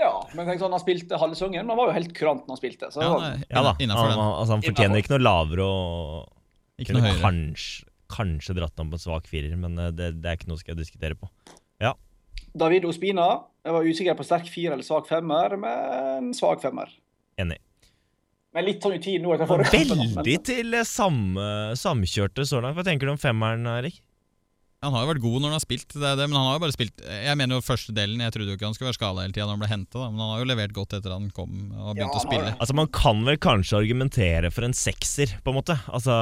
Speaker 3: Ja, men tenk sånn, han spilte halve sesongen, men han var jo helt kurant når han spilte.
Speaker 2: Ja,
Speaker 3: Så det var-
Speaker 2: han er
Speaker 1: Ja da, han,
Speaker 2: Innafor
Speaker 1: han-
Speaker 2: den.
Speaker 1: altså, han fortjener
Speaker 3: Innenfor.
Speaker 1: ikke noe lavere og
Speaker 2: Ikke
Speaker 1: kunne
Speaker 2: noe høyere.
Speaker 1: kanskje, kanskje dratt ham på en svak firer, men eh, det, det er ikke noe skal jeg diskutere på.
Speaker 3: David Ospina. Jeg var usikker på sterk fire eller svak femmer, men svak femmer.
Speaker 1: Enig.
Speaker 3: Men litt sånn utin nå etter forrige kamp, da, men-
Speaker 1: Veldig til eh, samme, samkjørte så langt. Hva tenker du om femmeren, Erik?
Speaker 2: Han har jo vært god når han har spilt, det er det, men han har jo bare spilt Jeg mener jo første delen, jeg trodde jo ikke han skulle være skada hele tida når han ble henta, men han har jo levert godt etter han kom og begynte å
Speaker 3: Ja, han har
Speaker 2: spille.
Speaker 3: det.
Speaker 1: Altså, man kan vel kanskje argumentere for en sekser, på en måte. Altså,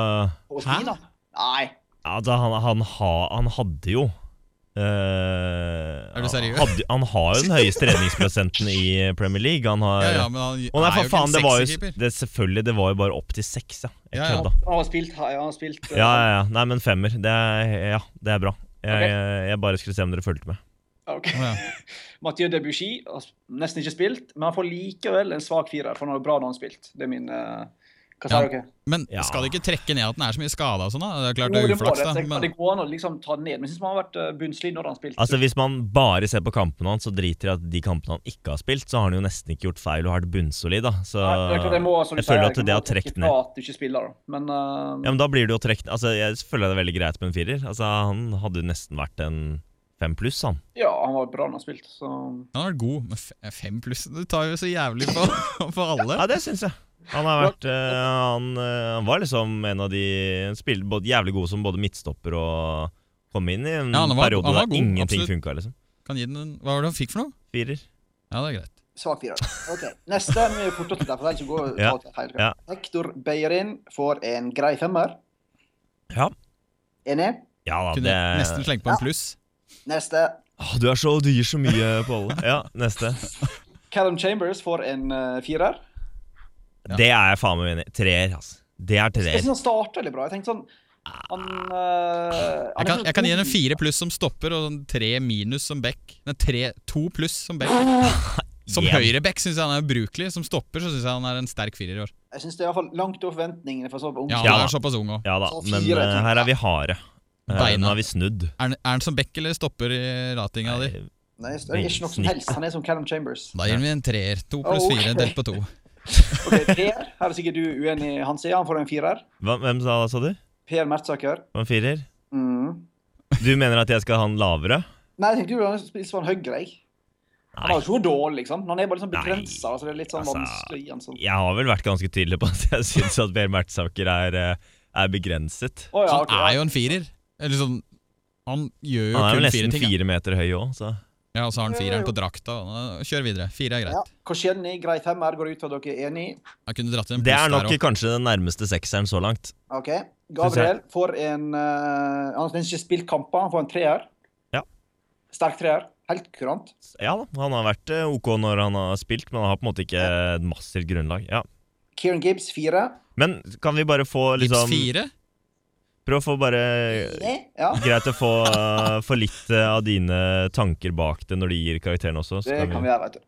Speaker 3: Hos
Speaker 2: Hæ?
Speaker 3: Hæ? da? Nei.
Speaker 1: altså han, han, ha, han hadde jo eh,
Speaker 2: Er du seriøs?
Speaker 1: Han, hadde, han har jo den høyeste redningsprosenten i Premier League. Han har
Speaker 2: Ja, ja, men han
Speaker 1: Å nei,
Speaker 2: er jo
Speaker 1: for
Speaker 2: ikke
Speaker 1: faen,
Speaker 2: en
Speaker 1: det var jo
Speaker 2: sekserkeeper.
Speaker 1: det, Selvfølgelig, det var jo bare opp til seks, ja. Jeg
Speaker 2: Ja, ja.
Speaker 1: kødda.
Speaker 3: Han har spilt, ja, han har spilt eh,
Speaker 1: Ja, ja, ja. Nei, men femmer. Det er, ja, det er bra. Jeg,
Speaker 3: Ok.
Speaker 1: jeg, jeg bare skulle se om dere fulgte med.
Speaker 3: eh, ok.
Speaker 2: Å, ja.
Speaker 3: Mathieu Debussy har s- nesten ikke spilt, men han får likevel en svak firer, for han har bra da han har spilt. Det er min eh, Hva
Speaker 2: Ja.
Speaker 3: sier dere?
Speaker 2: Men
Speaker 1: Ja.
Speaker 2: skal de ikke trekke ned at den er så mye skada og sånn, da? Det er klart
Speaker 3: Jo,
Speaker 2: det er
Speaker 3: det må
Speaker 2: uflaks,
Speaker 3: det.
Speaker 2: da.
Speaker 3: så kan
Speaker 2: Men,
Speaker 3: Det går an å liksom ta det ned, men jeg synes man har vært eh, bunnsolid når han har spilt.
Speaker 1: Altså, Hvis man bare ser på kampene hans og driter i at de kampene han ikke har spilt, så har han jo nesten ikke gjort feil og har vært bunnsolid, da. Så
Speaker 3: Nei, det er klart jeg må, som du
Speaker 1: jeg føler
Speaker 3: sier,
Speaker 1: at det
Speaker 3: må
Speaker 1: har
Speaker 3: trekke
Speaker 1: trekt
Speaker 3: fra
Speaker 1: ned.
Speaker 3: At du ikke spiller, da. Men eh,
Speaker 1: Ja, men da blir det jo trukket Altså, jeg føler det er veldig greit med en firer. Altså, han hadde jo nesten vært en fem pluss, han.
Speaker 3: ja, han var bra når han har spilt, så
Speaker 2: han har vært god, men f- eh, fem pluss Du tar jo så jævlig på, på alle.
Speaker 1: Ja, det syns jeg. Han har vært eh, han, eh, han var liksom en av de han Spilte både, jævlig god som både midtstopper og kom inn i en
Speaker 2: Ja, han var-
Speaker 1: periode
Speaker 2: han var
Speaker 1: der
Speaker 2: god,
Speaker 1: ingenting
Speaker 2: absolutt.
Speaker 1: funka, liksom.
Speaker 2: Kan gi den en Hva var det han fikk for noe?
Speaker 1: Firer.
Speaker 2: Ja, det er greit.
Speaker 3: svak firer. OK. Neste er mye fortere, for det er ikke å gå og
Speaker 1: Ja.
Speaker 3: ta til feil.
Speaker 1: Ja.
Speaker 3: Hector Beirin får en grei femmer.
Speaker 1: Ja.
Speaker 3: Enig?
Speaker 1: Ja da,
Speaker 2: Kunne nesten
Speaker 1: det
Speaker 2: slenge på en pluss.
Speaker 3: Neste.
Speaker 1: Åh, Du er så Du gir så mye på alle. Ja, neste.
Speaker 3: Callum Chambers får en eh, firer.
Speaker 2: Ja.
Speaker 1: Det er jeg faen meg enig i. Treer, altså. Det er
Speaker 3: Jeg
Speaker 1: treer.
Speaker 3: synes han starter veldig bra. Jeg tenkte sånn Han, eh, han er
Speaker 2: Jeg kan,
Speaker 3: sånn
Speaker 2: jeg kan gi den en
Speaker 3: god.
Speaker 2: fire pluss som stopper, og en tre minus som back. Nei, tre, to pluss som back. Som
Speaker 1: Igjen.
Speaker 2: høyreback syns jeg han er ubrukelig. Som stopper så syns jeg han er en sterk firer i år.
Speaker 3: Jeg synes det er i hvert fall langt over forventningene for så ung.
Speaker 2: Ja,
Speaker 1: Ja,
Speaker 2: han
Speaker 1: da.
Speaker 2: er såpass ung òg.
Speaker 1: Ja da,
Speaker 3: Så
Speaker 1: men
Speaker 3: fire,
Speaker 1: eh,
Speaker 3: tenker
Speaker 1: her
Speaker 3: jeg.
Speaker 1: er vi harde. Eh,
Speaker 2: Beina.
Speaker 1: Nå har vi snudd.
Speaker 2: Er, den- er han som back eller stopper i ratinga di?
Speaker 3: Nei, det er ikke noe som
Speaker 1: Snitt.
Speaker 3: helst. Han er som Callum Chambers.
Speaker 2: Da gir vi en treer. To pluss
Speaker 3: Ok.
Speaker 2: fire delt på to.
Speaker 3: Ok, Per, her er sikkert du uenig, Hansi. Han får en firer.
Speaker 1: Hva, hvem sa, sa du?
Speaker 3: Per Mertsaker.
Speaker 1: Det var En firer?
Speaker 3: Mm.
Speaker 1: Du mener at jeg skal ha en lavere?
Speaker 3: Nei, jeg tenkte jo han spilte sånn høyre, jeg. Han
Speaker 1: Nei.
Speaker 3: var jo ikke dårlig, liksom. Han er bare liksom
Speaker 1: Nei.
Speaker 3: begrenset, altså det er litt sånn
Speaker 1: Altså,
Speaker 3: vanskelig å gi han sånn.
Speaker 1: Jeg har vel vært ganske tydelig på at jeg syns at Per Mertsaker er, eh, er begrenset.
Speaker 3: Å, ja,
Speaker 2: Han
Speaker 3: ok,
Speaker 2: er
Speaker 3: ja.
Speaker 2: jo en firer. Eller sånn Han gjør jo
Speaker 1: Han er jo
Speaker 2: kun fire
Speaker 1: nesten
Speaker 2: ting. da.
Speaker 1: fire meter høy òg, så
Speaker 2: Ja, og så har han fireren på drakta. og- Kjør videre. Fire er
Speaker 3: ja.
Speaker 2: greit.
Speaker 3: Koscielny, grei femmer, går ut fra dere er enig.
Speaker 2: Han kunne dratt inn en
Speaker 1: Det er
Speaker 2: pluss
Speaker 1: nok
Speaker 2: der òg.
Speaker 1: kanskje den nærmeste sekseren så langt.
Speaker 3: OK. Gabriel får en eh, Han har ikke spilt kamper, han får en treer.
Speaker 1: Ja.
Speaker 3: Sterk treer. Helt kurant.
Speaker 1: Ja da, han har vært eh, OK når han har spilt, men han har på en måte ikke et massivt grunnlag. Ja.
Speaker 3: Kieran Gibbs fire.
Speaker 1: Men kan vi bare få
Speaker 2: Gips
Speaker 1: liksom
Speaker 2: fire?
Speaker 1: Prøv å få bare
Speaker 3: Ja.
Speaker 1: Greit å få, eh, få litt eh, av dine tanker bak det når de gir karakteren også. så
Speaker 3: Det kan vi gjøre, vet du.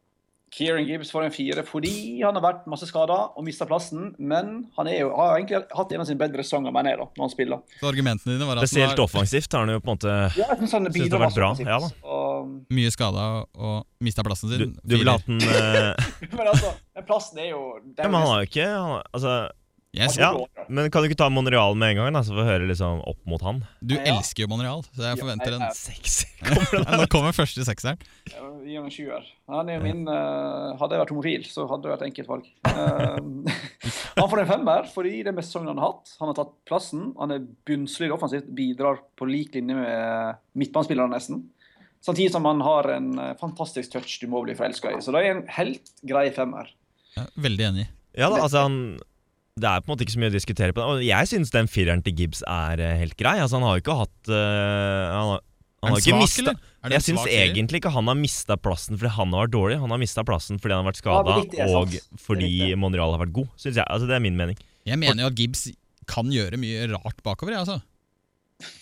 Speaker 3: Kieran Gibbs får en fire fordi han har vært masse skada og mista plassen, men han er jo, har egentlig hatt en av sine bedre sesonger, mener jeg, da, når han spiller.
Speaker 2: Så argumentene dine var at han
Speaker 1: Spesielt
Speaker 2: var
Speaker 1: offensivt har han jo på en måte
Speaker 3: Ja, jeg synes han
Speaker 1: Synes det
Speaker 3: bidrar
Speaker 1: har vært
Speaker 3: masse,
Speaker 1: bra, ja da.
Speaker 3: og-
Speaker 2: mye skada og mista plassen
Speaker 1: Du,
Speaker 2: sin.
Speaker 1: du ville
Speaker 2: Firer.
Speaker 1: hatt den eh,
Speaker 3: Men altså, den plassen er jo det
Speaker 1: ja,
Speaker 3: er jo
Speaker 1: Men han
Speaker 3: nesten-
Speaker 1: har jo ikke han, har- Altså
Speaker 2: Jeg
Speaker 1: Ja,
Speaker 2: synes,
Speaker 1: men kan du ikke ta Monreal med en gang, da, så får vi høre liksom opp mot han?
Speaker 2: Du
Speaker 3: Ja.
Speaker 2: elsker jo Monreal, så jeg
Speaker 3: Ja,
Speaker 2: forventer en
Speaker 3: jeg-
Speaker 1: Seks.
Speaker 2: Nå kommer første sekseren.
Speaker 3: Ja, Gi ham en sjuer. Han er jo min eh, Hadde jeg vært homofil, så hadde det vært enkelt valg. Eh, han får en femmer fordi det er mest sesongen han har hatt. Han har tatt plassen. Han er bunnsolid offensivt, bidrar på lik linje med midtbanespillerne, nesten. Samtidig som han har en eh, fantastisk touch du må bli forelska i. Så det er en helt grei femmer.
Speaker 2: Ja, veldig enig.
Speaker 1: Ja da, altså han Det er på en måte ikke så mye å diskutere på det. Og jeg syns den fireren til Gibbs er eh, helt grei. Altså han har jo ikke hatt eh, Han har, han har ikke mista
Speaker 2: Er
Speaker 1: Jeg syns egentlig ikke han har mista plassen fordi han har vært dårlig. Han har mista plassen fordi han har vært
Speaker 3: Ja, det
Speaker 1: skada,
Speaker 3: er riktig, det er sant.
Speaker 1: og
Speaker 3: Det er
Speaker 1: fordi
Speaker 3: riktig.
Speaker 1: Monreal har vært god. Synes jeg, altså Det er min mening.
Speaker 2: Jeg mener jo at Gibbs kan gjøre mye rart bakover, jeg, altså.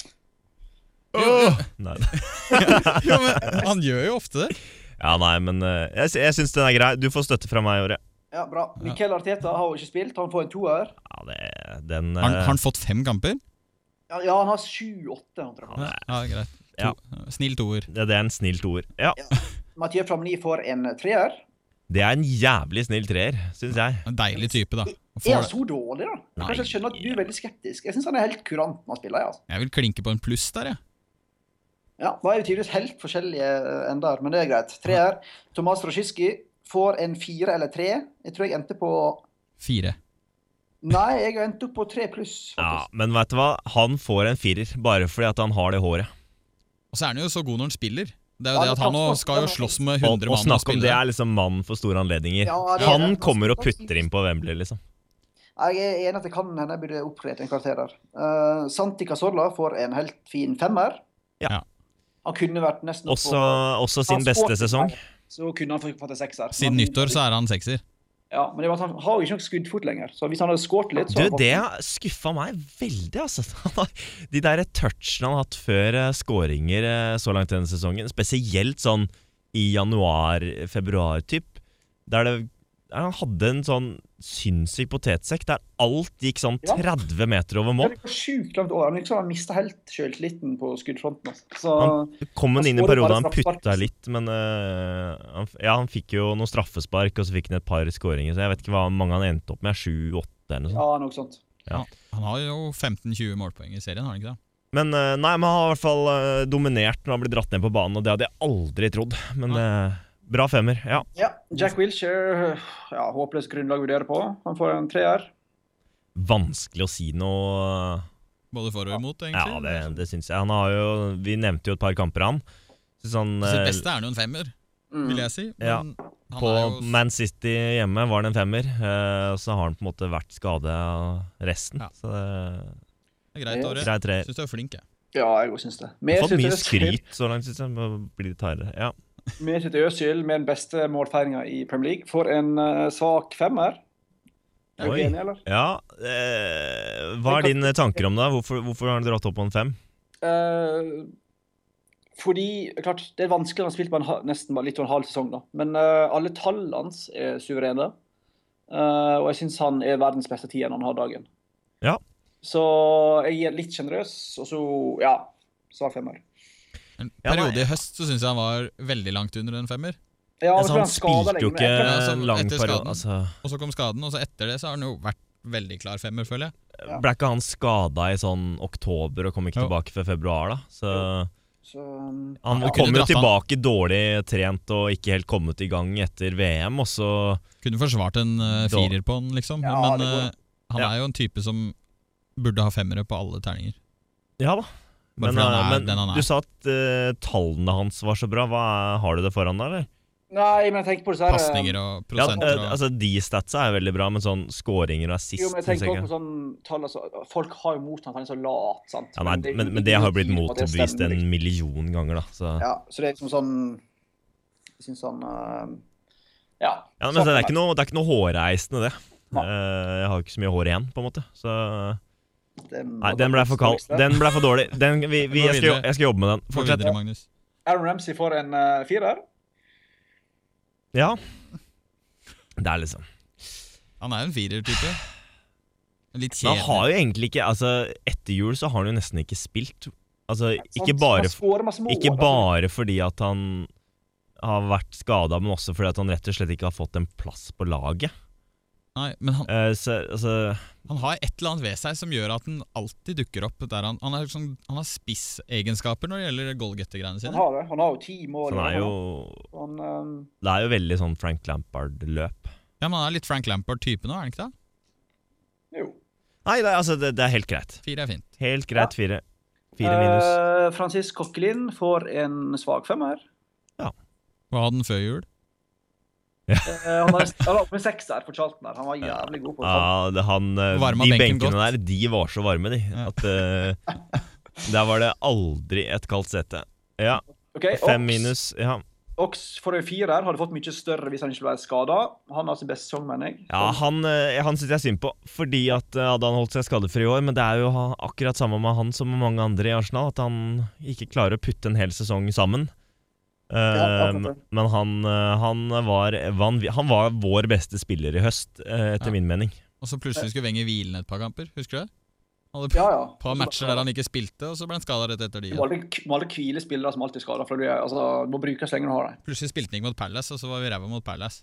Speaker 1: Nei.
Speaker 2: Jo, men han gjør jo ofte det.
Speaker 1: Ja, nei, men eh, jeg, sy- jeg syns den er grei. Du får støtte fra meg i året.
Speaker 3: Ja, bra. Miquel Arteta har jo ikke spilt. Han får en toer.
Speaker 1: Ja, det, den
Speaker 2: Har han,
Speaker 1: eh,
Speaker 2: har han fått fem kamper?
Speaker 3: Ja, ja, han har sju-åtte. han tror jeg.
Speaker 1: Ja,
Speaker 2: Ja, greit. To.
Speaker 1: Ja.
Speaker 2: Snill toer.
Speaker 1: eh, det, det er en snill toer. Ja,
Speaker 3: Mathieu Flamini får en treer.
Speaker 1: det er en jævlig snill treer, syns jeg.
Speaker 2: En deilig type, da. Og
Speaker 3: Er
Speaker 2: får
Speaker 3: han
Speaker 2: det.
Speaker 3: så dårlig, da?
Speaker 1: Nei.
Speaker 3: Kanskje jeg skjønner at du er veldig skeptisk. Jeg syns han er helt kurant når han spiller. ja, altså.
Speaker 2: Jeg vil klinke på en pluss der, jeg.
Speaker 3: Ja, Nå er vi tydeligvis helt forskjellige eh, ender, men det er greit. Treer. Tomas Rosjiski får en fire eller tre. Jeg tror jeg endte på
Speaker 2: Fire.
Speaker 3: Nei, jeg endte opp på tre pluss,
Speaker 1: Ja,
Speaker 3: faktisk.
Speaker 1: men vet du hva? Han får en firer bare fordi at han har det håret.
Speaker 2: Og så er han jo så god når han spiller. Det er
Speaker 3: Ja,
Speaker 2: jo det
Speaker 3: det
Speaker 2: at han nå
Speaker 3: kan-
Speaker 2: skal jo slåss med
Speaker 1: Og, og
Speaker 2: 100 mann og
Speaker 1: snakk om det
Speaker 2: spille.
Speaker 1: er liksom mannen for store anledninger.
Speaker 3: Ja, det er-
Speaker 1: Han kommer og putter inn på Wembley, liksom.
Speaker 3: Jeg er enig at det kan hende jeg burde oppgradert en karakter der. Eh, Santi Cazorla får en helt fin femmer.
Speaker 2: Ja.
Speaker 3: Han kunne vært nesten opp
Speaker 1: Også,
Speaker 3: på-
Speaker 1: også
Speaker 3: Han
Speaker 1: sin beste
Speaker 3: skåret-
Speaker 1: sesong.
Speaker 3: Så kunne han fått en sekser.
Speaker 2: Siden
Speaker 3: Men-
Speaker 2: nyttår så er han sekser.
Speaker 3: Ja, men det var at han har jo ikke noe skuddfot lenger. Så hvis han hadde skåret litt, så
Speaker 1: Du,
Speaker 3: hadde han fått-
Speaker 1: det skuffa meg veldig, altså. Han har- De der touchene han har hatt før eh, skåringer eh, så langt denne sesongen, spesielt sånn i januar-februar-typ, der det der han hadde en sånn sinnssyk potetsekk der alt gikk sånn
Speaker 3: Ja.
Speaker 1: 30 meter over
Speaker 3: Ja,
Speaker 1: mål.
Speaker 3: det var sjukt langt over. Han liksom har mista helt sjøltilliten på skuddfronten. altså.
Speaker 1: Han-
Speaker 3: Så
Speaker 1: Kom han inn i
Speaker 3: skårer bare
Speaker 1: perioden han
Speaker 3: straffespark.
Speaker 1: putta litt, men eh, han, f- ja, han fikk jo noen straffespark, og så fikk han et par skåringer, så jeg vet ikke hva mange han endte opp med. Sju-åtte eller noe sånt.
Speaker 3: ja, noe sånt.
Speaker 2: Han har jo 15-20 målpoeng i serien, har han ikke det?
Speaker 1: Men eh, nei, men han har i hvert fall eh, dominert når han ble dratt ned på banen, og det hadde jeg aldri trodd. Men eh, bra femmer, ja.
Speaker 3: Ja, Jack Wilshere ja, Håpløst grunnlag å vurdere på. Han får en treer.
Speaker 1: Vanskelig å si noe eh,
Speaker 2: Både for og imot,
Speaker 1: Ja,
Speaker 2: egentlig. sånn.
Speaker 1: det, det syns jeg. Han har jo Vi nevnte jo et par kamper, han. Synes han
Speaker 2: På
Speaker 1: eh,
Speaker 2: Sitt Altså, beste er han jo en femmer,
Speaker 3: Mm.
Speaker 2: vil jeg si. Men
Speaker 1: Ja.
Speaker 2: han
Speaker 1: på
Speaker 2: er jo
Speaker 1: Man City hjemme var det en femmer, eh, og så har han på en måte vært skade av resten.
Speaker 2: Ja.
Speaker 1: Så eh, det
Speaker 2: s- greit
Speaker 1: er
Speaker 2: året.
Speaker 1: grei treer.
Speaker 2: Syns du er flink, jeg.
Speaker 3: Ja, jeg òg syns det. Mer
Speaker 1: Fått mye
Speaker 3: sytøs-
Speaker 1: skryt så langt, syns jeg. Må bli litt hardere. Ja.
Speaker 3: Med sitt Øsil med den beste målfeiringa i Premier League. Får en eh, svak femmer. Er du
Speaker 1: Oi.
Speaker 3: enig, eller?
Speaker 1: ja eh, hva er dine tanker om det? Hvorfor, hvorfor har han dratt opp på en fem?
Speaker 3: Eh, fordi klart, Det er vanskelig, han har spilt på en, ha- nesten bare litt over en halv sesong. da. Men eh, alle tallene hans er suverene. Eh, og jeg syns han er verdens beste tier når han har dagen.
Speaker 1: Ja.
Speaker 3: Så jeg er litt sjenerøs, og så ja, svak femmer.
Speaker 2: En
Speaker 1: Ja, nei.
Speaker 2: periode i høst så syns jeg han var veldig langt under en femmer.
Speaker 3: Ja,
Speaker 1: Altså,
Speaker 3: men
Speaker 1: han
Speaker 3: så ble han skadet
Speaker 1: spilte jo
Speaker 3: lenge,
Speaker 1: ikke
Speaker 3: men jeg tror-
Speaker 2: Ja, altså,
Speaker 1: lang
Speaker 2: etter
Speaker 1: periode.
Speaker 2: skaden.
Speaker 1: Altså,
Speaker 2: Og så kom skaden, og så etter det så har han jo vært veldig klar femmer, føler jeg.
Speaker 3: Ja.
Speaker 1: Ble ikke han skada i sånn oktober og kom ikke
Speaker 2: Jo.
Speaker 1: tilbake før februar, da? Så
Speaker 3: så, um,
Speaker 1: han
Speaker 2: Ja.
Speaker 1: kom
Speaker 2: Kunne
Speaker 1: jo
Speaker 2: dratt han.
Speaker 1: tilbake dårlig trent og ikke helt kommet i gang etter VM, og så
Speaker 2: Kunne forsvart en
Speaker 1: Da-
Speaker 2: eh, firer på han, liksom.
Speaker 3: Ja,
Speaker 2: men
Speaker 3: det går.
Speaker 2: eh, han
Speaker 1: Ja.
Speaker 2: er jo en type som burde ha femmere på alle terninger.
Speaker 1: Ja da.
Speaker 2: Bare
Speaker 1: Men,
Speaker 2: fordi han er
Speaker 1: eh,
Speaker 2: den han
Speaker 1: men
Speaker 2: er.
Speaker 1: du sa at eh, tallene hans var så bra. Hva er, Har du det foran deg, eller?
Speaker 3: Nei, men jeg tenker på disse her, eh,
Speaker 2: Pasninger og
Speaker 1: Ja, eh,
Speaker 2: prosenter og
Speaker 1: altså, de statsa er veldig bra, men sånn skåringer og assist
Speaker 3: Jo, men
Speaker 1: synes
Speaker 3: jeg tenker
Speaker 1: jeg ikke.
Speaker 3: også på sånn tall, altså, Folk har jo motstand, han er så lat. sant?
Speaker 1: ja, nei, men, men det har jo blitt motbevist
Speaker 3: liksom.
Speaker 1: en million ganger, da. Så. Ja,
Speaker 3: Ja, så det er liksom sånn Jeg syns han øh, Ja.
Speaker 1: men det sånn er ikke noe, det er ikke noe hårreisende, det. Eh, jeg har jo ikke så mye hår igjen, på en måte. Så Nei, den ble for kald. Den ble for dårlig. Den, vi, vi,
Speaker 2: Gå
Speaker 1: jeg, skal,
Speaker 2: videre.
Speaker 1: jo- jeg skal jobbe med den.
Speaker 2: Gå
Speaker 1: Fortsett.
Speaker 2: videre, Magnus.
Speaker 3: Aaron Ramsey får en øh, firer.
Speaker 1: Ja. Det er liksom
Speaker 2: Han er jo en firer-type.
Speaker 1: Men
Speaker 2: Litt kjedelig.
Speaker 1: han har jo egentlig ikke Altså, etter jul så har han jo nesten ikke spilt. Altså, ikke
Speaker 3: Han-
Speaker 1: bare,
Speaker 3: han scorer masse mål,
Speaker 1: ikke
Speaker 3: altså.
Speaker 1: bare fordi at han har vært skada, men også fordi at han rett og slett ikke har fått en plass på laget.
Speaker 2: Nei, men han,
Speaker 1: Eh, så, altså
Speaker 2: han har et eller annet ved seg som gjør at han alltid dukker opp. Der han, han, er sånn, han har spissegenskaper når det gjelder goalgettergreiene
Speaker 3: Han
Speaker 2: sine.
Speaker 3: har det. Han har jo ti mål.
Speaker 1: Han Sånn er jo
Speaker 3: han, øh,
Speaker 1: Det er jo veldig sånn Frank Lampard-løp.
Speaker 2: Ja, men han er litt Frank Lampard-type nå, er han ikke det?
Speaker 3: jo.
Speaker 1: Nei, det, er- altså, det, det er helt greit.
Speaker 2: Fire er fint.
Speaker 1: Helt greit fire. Fire minus.
Speaker 3: Øh, Francis Kokkelin får en svak femmer.
Speaker 2: Hva hadde han før jul?
Speaker 3: Øh, han har han har oppe en sekser for Charlton her. Han var jævlig god på det.
Speaker 1: Ja, det, han, eh,
Speaker 2: Varma
Speaker 1: de
Speaker 2: benken
Speaker 1: benkene der,
Speaker 2: godt.
Speaker 1: de var så varme, de.
Speaker 2: Ja.
Speaker 1: At eh, Der var det aldri et kaldt sete. Ja,
Speaker 3: Ok,
Speaker 1: fem
Speaker 3: Ox-
Speaker 1: minus. Ja,
Speaker 3: Ox for en firer hadde fått mye større hvis han ikke ble skada. Han altså har sin beste sesong, mener jeg.
Speaker 1: ja han, eh, han syns jeg synd på, fordi at eh, hadde han holdt seg skadefri i år, men det er jo ha- akkurat samme med han som med mange andre i Arsenal, at han ikke klarer å putte en hel sesong sammen. Eh,
Speaker 3: Ja, akkurat det.
Speaker 1: men han, eh, han, var, vanvi- han var vår beste spiller i høst, eh, etter
Speaker 2: Ja.
Speaker 1: min mening.
Speaker 2: Og så plutselig skulle Wenger hvile ned et par kamper, husker du det? Han hadde
Speaker 3: ja, ja.
Speaker 2: et par matcher der han ikke spilte, og så ble han skada rett etter de.
Speaker 3: Du må aldri, du må aldri hvile spillere som alltid er skadet, for du, er- altså, du må bruke så lenge du har dem.
Speaker 2: Plutselig spilte han ikke mot Palace, og så var vi ræva mot Palace.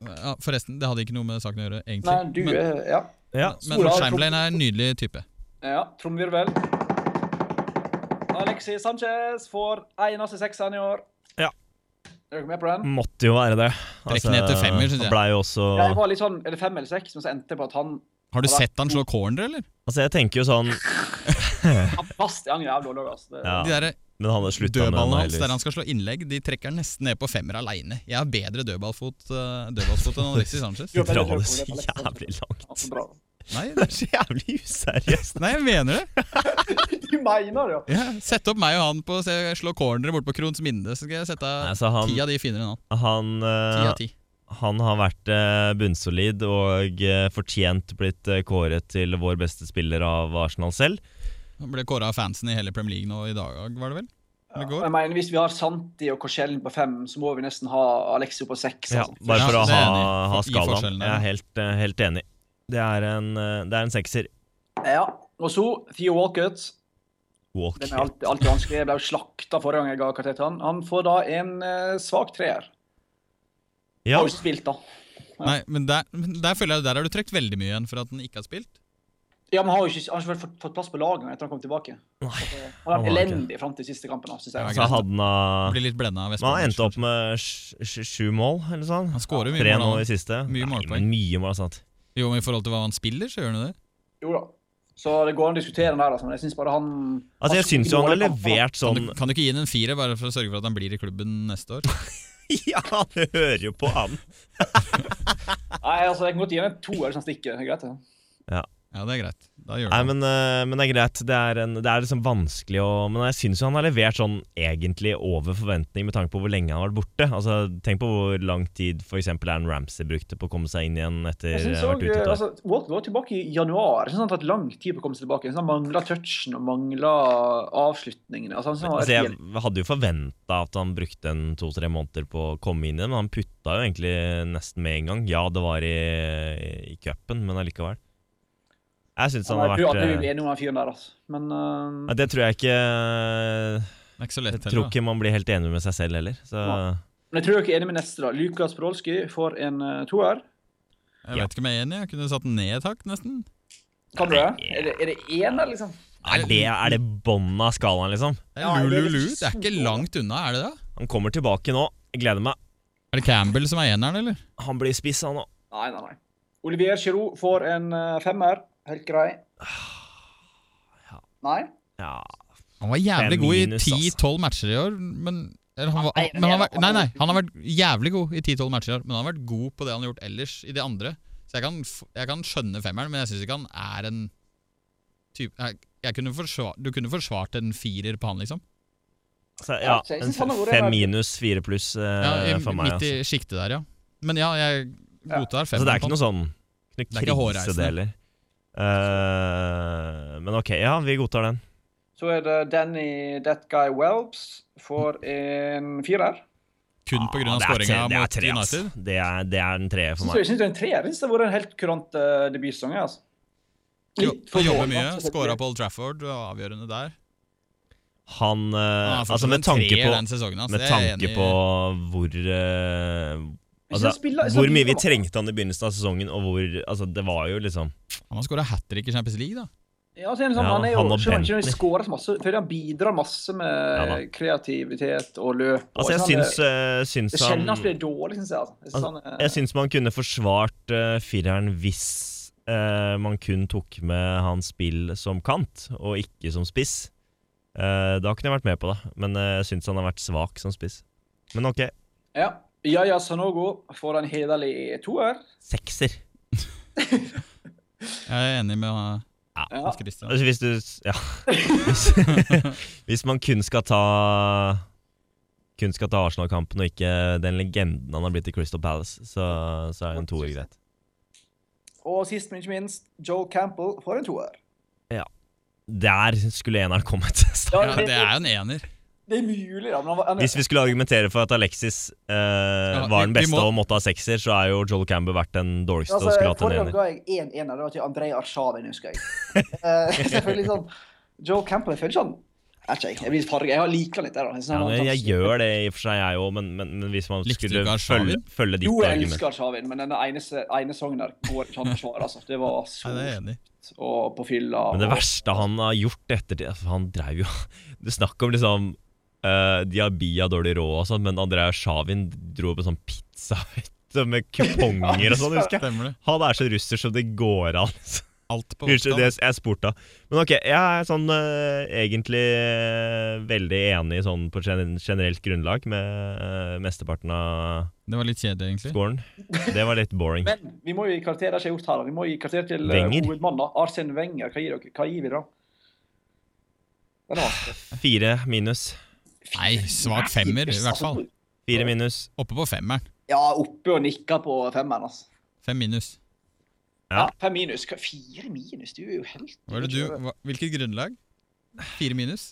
Speaker 2: Ja, forresten, det hadde ikke noe med saken å gjøre, egentlig.
Speaker 3: Nei, du
Speaker 2: men,
Speaker 3: er Ja.
Speaker 1: Ja,
Speaker 2: men
Speaker 3: Sola-
Speaker 2: Chamberlain er en nydelig type.
Speaker 3: ja Trommevirvel. Alexis Sanchez får eneste sekseren i år.
Speaker 1: Ja. Mm.
Speaker 3: Er dere med på den?
Speaker 1: måtte jo være det. Altså,
Speaker 2: Trekk ned til femmer, synes jeg.
Speaker 1: Han ble jo også
Speaker 3: Jeg var litt sånn, Er det fem eller seks? Men så endte jeg på at han
Speaker 2: Har du sett han slå corner, eller?
Speaker 1: Altså, jeg tenker jo sånn
Speaker 3: Bastian er jævlig dårlig, altså. Det,
Speaker 1: Ja.
Speaker 2: De der
Speaker 1: Men han slutta med
Speaker 2: dødballene hans
Speaker 1: Miley.
Speaker 2: der han skal slå innlegg, de trekker han nesten ned på femmer aleine. Jeg har bedre dødballfot, eh, dødballsfot enn Alexis Sanchez.
Speaker 1: Du drar det så jævlig langt.
Speaker 3: Altså, bra.
Speaker 2: Nei,
Speaker 1: Det er så jævlig useriøst.
Speaker 2: nei, jeg mener det.
Speaker 3: Du mener det, ja.
Speaker 2: Ja, sett opp meg og han på å se- slå cornere bort på Krons Minde, så skal jeg sette
Speaker 1: Nei, så han,
Speaker 2: ti av de finere enn han.
Speaker 1: han,
Speaker 2: Ti
Speaker 1: eh,
Speaker 2: av ti.
Speaker 1: han har vært eh, bunnsolid og eh, fortjent blitt eh, kåret til vår beste spiller av Arsenal selv.
Speaker 2: Han ble kåra av fansen i hele Premier League nå i dag, var det vel?
Speaker 3: Ja,
Speaker 2: Det går.
Speaker 3: Jeg mener, Hvis vi har Santi og Korsellen på fem, så må vi nesten ha Alexio på seks.
Speaker 1: Ja,
Speaker 3: altså.
Speaker 1: bare for
Speaker 2: Ja,
Speaker 1: å
Speaker 2: det er
Speaker 1: ha,
Speaker 2: enig.
Speaker 1: ha
Speaker 2: I
Speaker 1: skalaen.
Speaker 2: forskjellen der.
Speaker 1: Jeg er helt, eh, helt enig. Det er en, eh, det er en sekser.
Speaker 3: ja. Og så Theo Walcott.
Speaker 1: Walk.
Speaker 3: Den er alltid, alltid vanskelig. Jeg ble jo slakta forrige gang jeg ga karakter til han. Han får da en eh, svak treer.
Speaker 1: Ja,
Speaker 3: Har jo spilt, da.
Speaker 2: Nei, men der, men der føler jeg der har du trukket veldig mye igjen for at den ikke har spilt.
Speaker 3: Ja, men han har jo ikke, han har ikke fått, fått plass på laget etter han kom tilbake.
Speaker 1: Nei,
Speaker 3: Han har
Speaker 1: han
Speaker 3: vært
Speaker 1: har ikke.
Speaker 3: elendig fram til siste kampen. da, Synes jeg.
Speaker 2: Ja,
Speaker 1: så hadde han eh,
Speaker 2: Blir litt blenda av
Speaker 1: Men han
Speaker 2: Vestbromwich.
Speaker 1: endte opp med sj- sj- sju mål, eller sånn.
Speaker 2: Han skårer mye
Speaker 1: Tre
Speaker 2: mål,
Speaker 1: nå
Speaker 2: han.
Speaker 1: i siste.
Speaker 2: Mye
Speaker 1: Nei,
Speaker 2: målpoeng.
Speaker 1: men Mye mål, altså. sant.
Speaker 2: Jo, men i forhold til hva han spiller, så gjør han jo det.
Speaker 3: Jo da. Så det går an å diskutere den der, altså. men jeg syns bare han
Speaker 1: Altså, jeg syns jo han har levert
Speaker 2: Kan
Speaker 1: sånn
Speaker 2: du, kan du ikke gi ham en fire bare for å sørge for at han blir i klubben neste år?
Speaker 1: Ja, det hører jo på han!
Speaker 3: Nei, altså, jeg kan godt gi ham en toer som stikker. Det er greit, det.
Speaker 2: Ja, det er greit. Da gjør
Speaker 1: Nei,
Speaker 2: du det.
Speaker 1: men, eh, men det er greit. Det er, en, det er liksom vanskelig å Men jeg syns jo han har levert sånn egentlig over forventning med tanke på hvor lenge han har vært borte. Altså, Tenk på hvor lang tid f.eks. Aaron Ramsey brukte på å komme seg inn igjen etter
Speaker 3: Jeg
Speaker 1: å
Speaker 3: synes
Speaker 1: ha vært
Speaker 3: også,
Speaker 1: ute et år.
Speaker 3: altså, Walker var tilbake i januar. Jeg synes Han har tatt lang tid på å komme seg tilbake. Jeg synes Han mangla touchen og mangla avslutningene. Altså, han synes han var
Speaker 1: Altså,
Speaker 3: helt
Speaker 1: jeg hadde jo forventa at han brukte en to-tre måneder på å komme inn igjen, men han putta jo egentlig nesten med en gang. Ja, det var i, i cupen, men allikevel. Jeg syns han
Speaker 3: Nei,
Speaker 1: har
Speaker 3: Jeg tror
Speaker 1: vært
Speaker 3: aldri vi blir
Speaker 1: eh,
Speaker 3: enige om den fyren der, altså. Men eh,
Speaker 1: Nei, Det tror jeg ikke Jeg
Speaker 2: Det er ikke så lett
Speaker 1: tror
Speaker 2: heller. da.
Speaker 1: ikke man blir helt enig med seg selv heller. Så
Speaker 3: Nei. men jeg tror dere er enige med neste, da. Lukas Podolsky får en eh, toer.
Speaker 2: Jeg vet ikke om jeg er enig. Jeg kunne satt den ned et hakk, nesten.
Speaker 3: Kan du det? Er det, er det én, eller liksom?
Speaker 1: er det, er det bånn av skalaen, liksom?
Speaker 2: Det
Speaker 3: Ja,
Speaker 2: er
Speaker 3: det er
Speaker 2: Lulu,
Speaker 3: ikke
Speaker 2: det er ikke
Speaker 3: så-
Speaker 2: langt unna, er det det?
Speaker 1: Han kommer tilbake nå. Jeg gleder meg.
Speaker 2: Er det Campbell som er eneren, eller?
Speaker 1: Han blir spiss, han òg.
Speaker 3: Nei, nei, nei. Olivier Giroud får en eh, femmer. Helt grei. Nei?
Speaker 1: Ja.
Speaker 2: Han var jævlig
Speaker 1: Fem
Speaker 2: god i
Speaker 1: minus,
Speaker 2: 10-12 matcher i år, men eller han var,
Speaker 3: Nei, men
Speaker 2: men han
Speaker 3: jeg-
Speaker 2: var, Nei, nei, han har vært jævlig god i 10-12 matcher i år, men han har vært god på det han har gjort ellers i de andre. Så jeg kan, f- jeg kan skjønne femmeren, men jeg syns ikke han er en type jeg, jeg kunne forsvar, Du kunne forsvart en firer på han, liksom.
Speaker 1: Så, ja,
Speaker 3: så jeg
Speaker 1: en
Speaker 3: synes han har vært-
Speaker 1: fem minus, fire pluss eh,
Speaker 2: Ja, i,
Speaker 1: for meg.
Speaker 2: midt i
Speaker 1: Altså.
Speaker 2: sjiktet der, ja. Men ja, jeg godtar
Speaker 1: Altså,
Speaker 2: femmeren.
Speaker 1: det er ikke noe
Speaker 2: på han.
Speaker 1: sånn ikke
Speaker 2: Det er ikke
Speaker 1: noe krise,
Speaker 2: hårreisende.
Speaker 1: det heller. Eh, men ok, ja, vi godtar den.
Speaker 3: Så er det Danny That Guy Welps får en firer.
Speaker 2: Kun pga.
Speaker 1: Ah, det er
Speaker 2: skåringa
Speaker 1: tre- det er
Speaker 2: mot
Speaker 1: tre, ass.
Speaker 2: United.
Speaker 1: Det er, det er en treer
Speaker 3: Jeg
Speaker 1: for
Speaker 3: synes
Speaker 1: meg.
Speaker 3: jeg synes det er en treer. Jeg synes det har vært en helt kurant eh, debutsesong. jeg, Altså.
Speaker 2: Jo,
Speaker 3: Litt for
Speaker 2: Han jobber
Speaker 3: dårlig,
Speaker 2: mye.
Speaker 3: altså, selvfølgelig.
Speaker 2: Skåra på Old Trafford, og avgjørende der.
Speaker 1: Han eh,
Speaker 2: Han er fortsatt
Speaker 1: Altså, med
Speaker 2: en
Speaker 1: tanke
Speaker 2: treer
Speaker 1: på,
Speaker 2: den sesongen, ass.
Speaker 1: med
Speaker 2: Jeg er
Speaker 1: tanke
Speaker 2: enig i-
Speaker 1: på hvor eh,
Speaker 3: Hvis
Speaker 1: Altså,
Speaker 3: han spiller- hvis han
Speaker 1: hvor mye vi
Speaker 3: bidrar-
Speaker 1: trengte han i begynnelsen av sesongen, og hvor Altså, det var jo liksom
Speaker 2: Han har skåra hat trick i Champions League, da.
Speaker 3: Ja, altså, en sånn,
Speaker 1: Ja,
Speaker 3: han er jo,
Speaker 1: han og
Speaker 3: selv om han
Speaker 1: Bentley.
Speaker 3: ikke skårer så masse, føler jeg han bidrar masse med
Speaker 1: Ja, da.
Speaker 3: kreativitet og løp. og
Speaker 1: Altså, jeg
Speaker 3: sånn,
Speaker 1: syns, eh, syns
Speaker 3: Det
Speaker 1: han
Speaker 3: sjelden han spiller dårlig, syns jeg. Altså. Jeg synes
Speaker 1: Altså,
Speaker 3: han, eh,
Speaker 1: Jeg syns man kunne forsvart eh, fireren hvis eh, man kun tok med hans spill som kant, og ikke som spiss. Eh, da kunne jeg vært med på det, men eh, jeg syns han har vært svak som spiss. Men ok,
Speaker 3: ja. Yaya Sanogo får en hederlig toer.
Speaker 1: sekser.
Speaker 2: Jeg er enig med uh,
Speaker 3: Ja.
Speaker 2: Hans Christian.
Speaker 1: Altså, hvis du Ja. Hvis, hvis man kun skal ta kun skal ta Arsenal-kampen og ikke den legenden han har blitt i Crystal Palace, så, så er en toer greit.
Speaker 3: Og sist, men ikke minst, Joel Campbell får en toer.
Speaker 1: Der skulle eneren kommet.
Speaker 3: Ja,
Speaker 2: Ja, det er jo en ener.
Speaker 3: Det er mulig, da. Men han, var- han,
Speaker 1: Hvis vi skulle argumentere for at Alexis eh, var den
Speaker 2: vi- vi
Speaker 1: beste
Speaker 2: må-
Speaker 1: og måtte ha sekser, så er jo Joel Campbell vært den dårligste
Speaker 3: altså,
Speaker 1: og skulle hatt en
Speaker 3: forrige gang
Speaker 1: ener.
Speaker 3: ga jeg én ener. Det var til Andrej Arshavin, husker jeg. Eh, selvfølgelig sånn Joel Campbell jeg føler ikke han Jeg vet ikke, jeg. Jeg blir farge. Jeg har liker han litt. Der, da. Jeg, synes
Speaker 1: Ja,
Speaker 3: han var
Speaker 1: men
Speaker 3: en
Speaker 1: jeg
Speaker 3: sånn-
Speaker 1: gjør det i og for seg, jeg òg, men, men, men hvis man
Speaker 2: Likte du
Speaker 1: skulle
Speaker 2: ikke Arshavin?
Speaker 1: følge, følge ditt
Speaker 3: Jo, jeg
Speaker 1: argument
Speaker 3: elsker Arshavin, men den ene, ene sangen der går ikke an å forsvare. Altså. Det var
Speaker 2: Nei,
Speaker 3: så
Speaker 2: det er jeg enig. i.
Speaker 3: og på fylla.
Speaker 1: Men det
Speaker 3: og-
Speaker 1: verste han har gjort etter det for Han drev jo Det snakk om liksom eh, Diaby har dårlig råd og sånn, men Andrea Sjavin dro på sånn
Speaker 3: altså.
Speaker 1: pizza vet du, med kuponger og sånn, husker jeg.
Speaker 2: Stemmer det.
Speaker 1: Han er så russer som det går an.
Speaker 2: Alt på
Speaker 1: Unnskyld,
Speaker 2: Oppdal.
Speaker 1: det jeg spurte av. Men ok, jeg er sånn eh, egentlig eh, veldig enig sånn på gen generelt grunnlag med eh, mesteparten av
Speaker 2: Det var litt kjedelig, egentlig.
Speaker 1: scoren. Det var litt boring.
Speaker 3: Men vi må jo gi karakter. Det har ikke jeg gjort her. da. Vi må gi karakter til eh,
Speaker 1: Wenger.
Speaker 3: hovedmannen. da. Arsene Wenger. Hva gir dere? Hva gir vi da? Den er vanskelig.
Speaker 1: Fire minus.
Speaker 2: Nei, svak femmer, i hvert fall.
Speaker 1: Fire minus.
Speaker 2: Oppe på femmeren.
Speaker 3: altså, Ja, oppe og nikka på femmeren, altså.
Speaker 2: Fem minus.
Speaker 1: Ja.
Speaker 3: Ja. Fem minus. Hva- Fire minus? Du er jo helt
Speaker 2: Hva er det du, hva, hvilket grunnlag? Fire minus?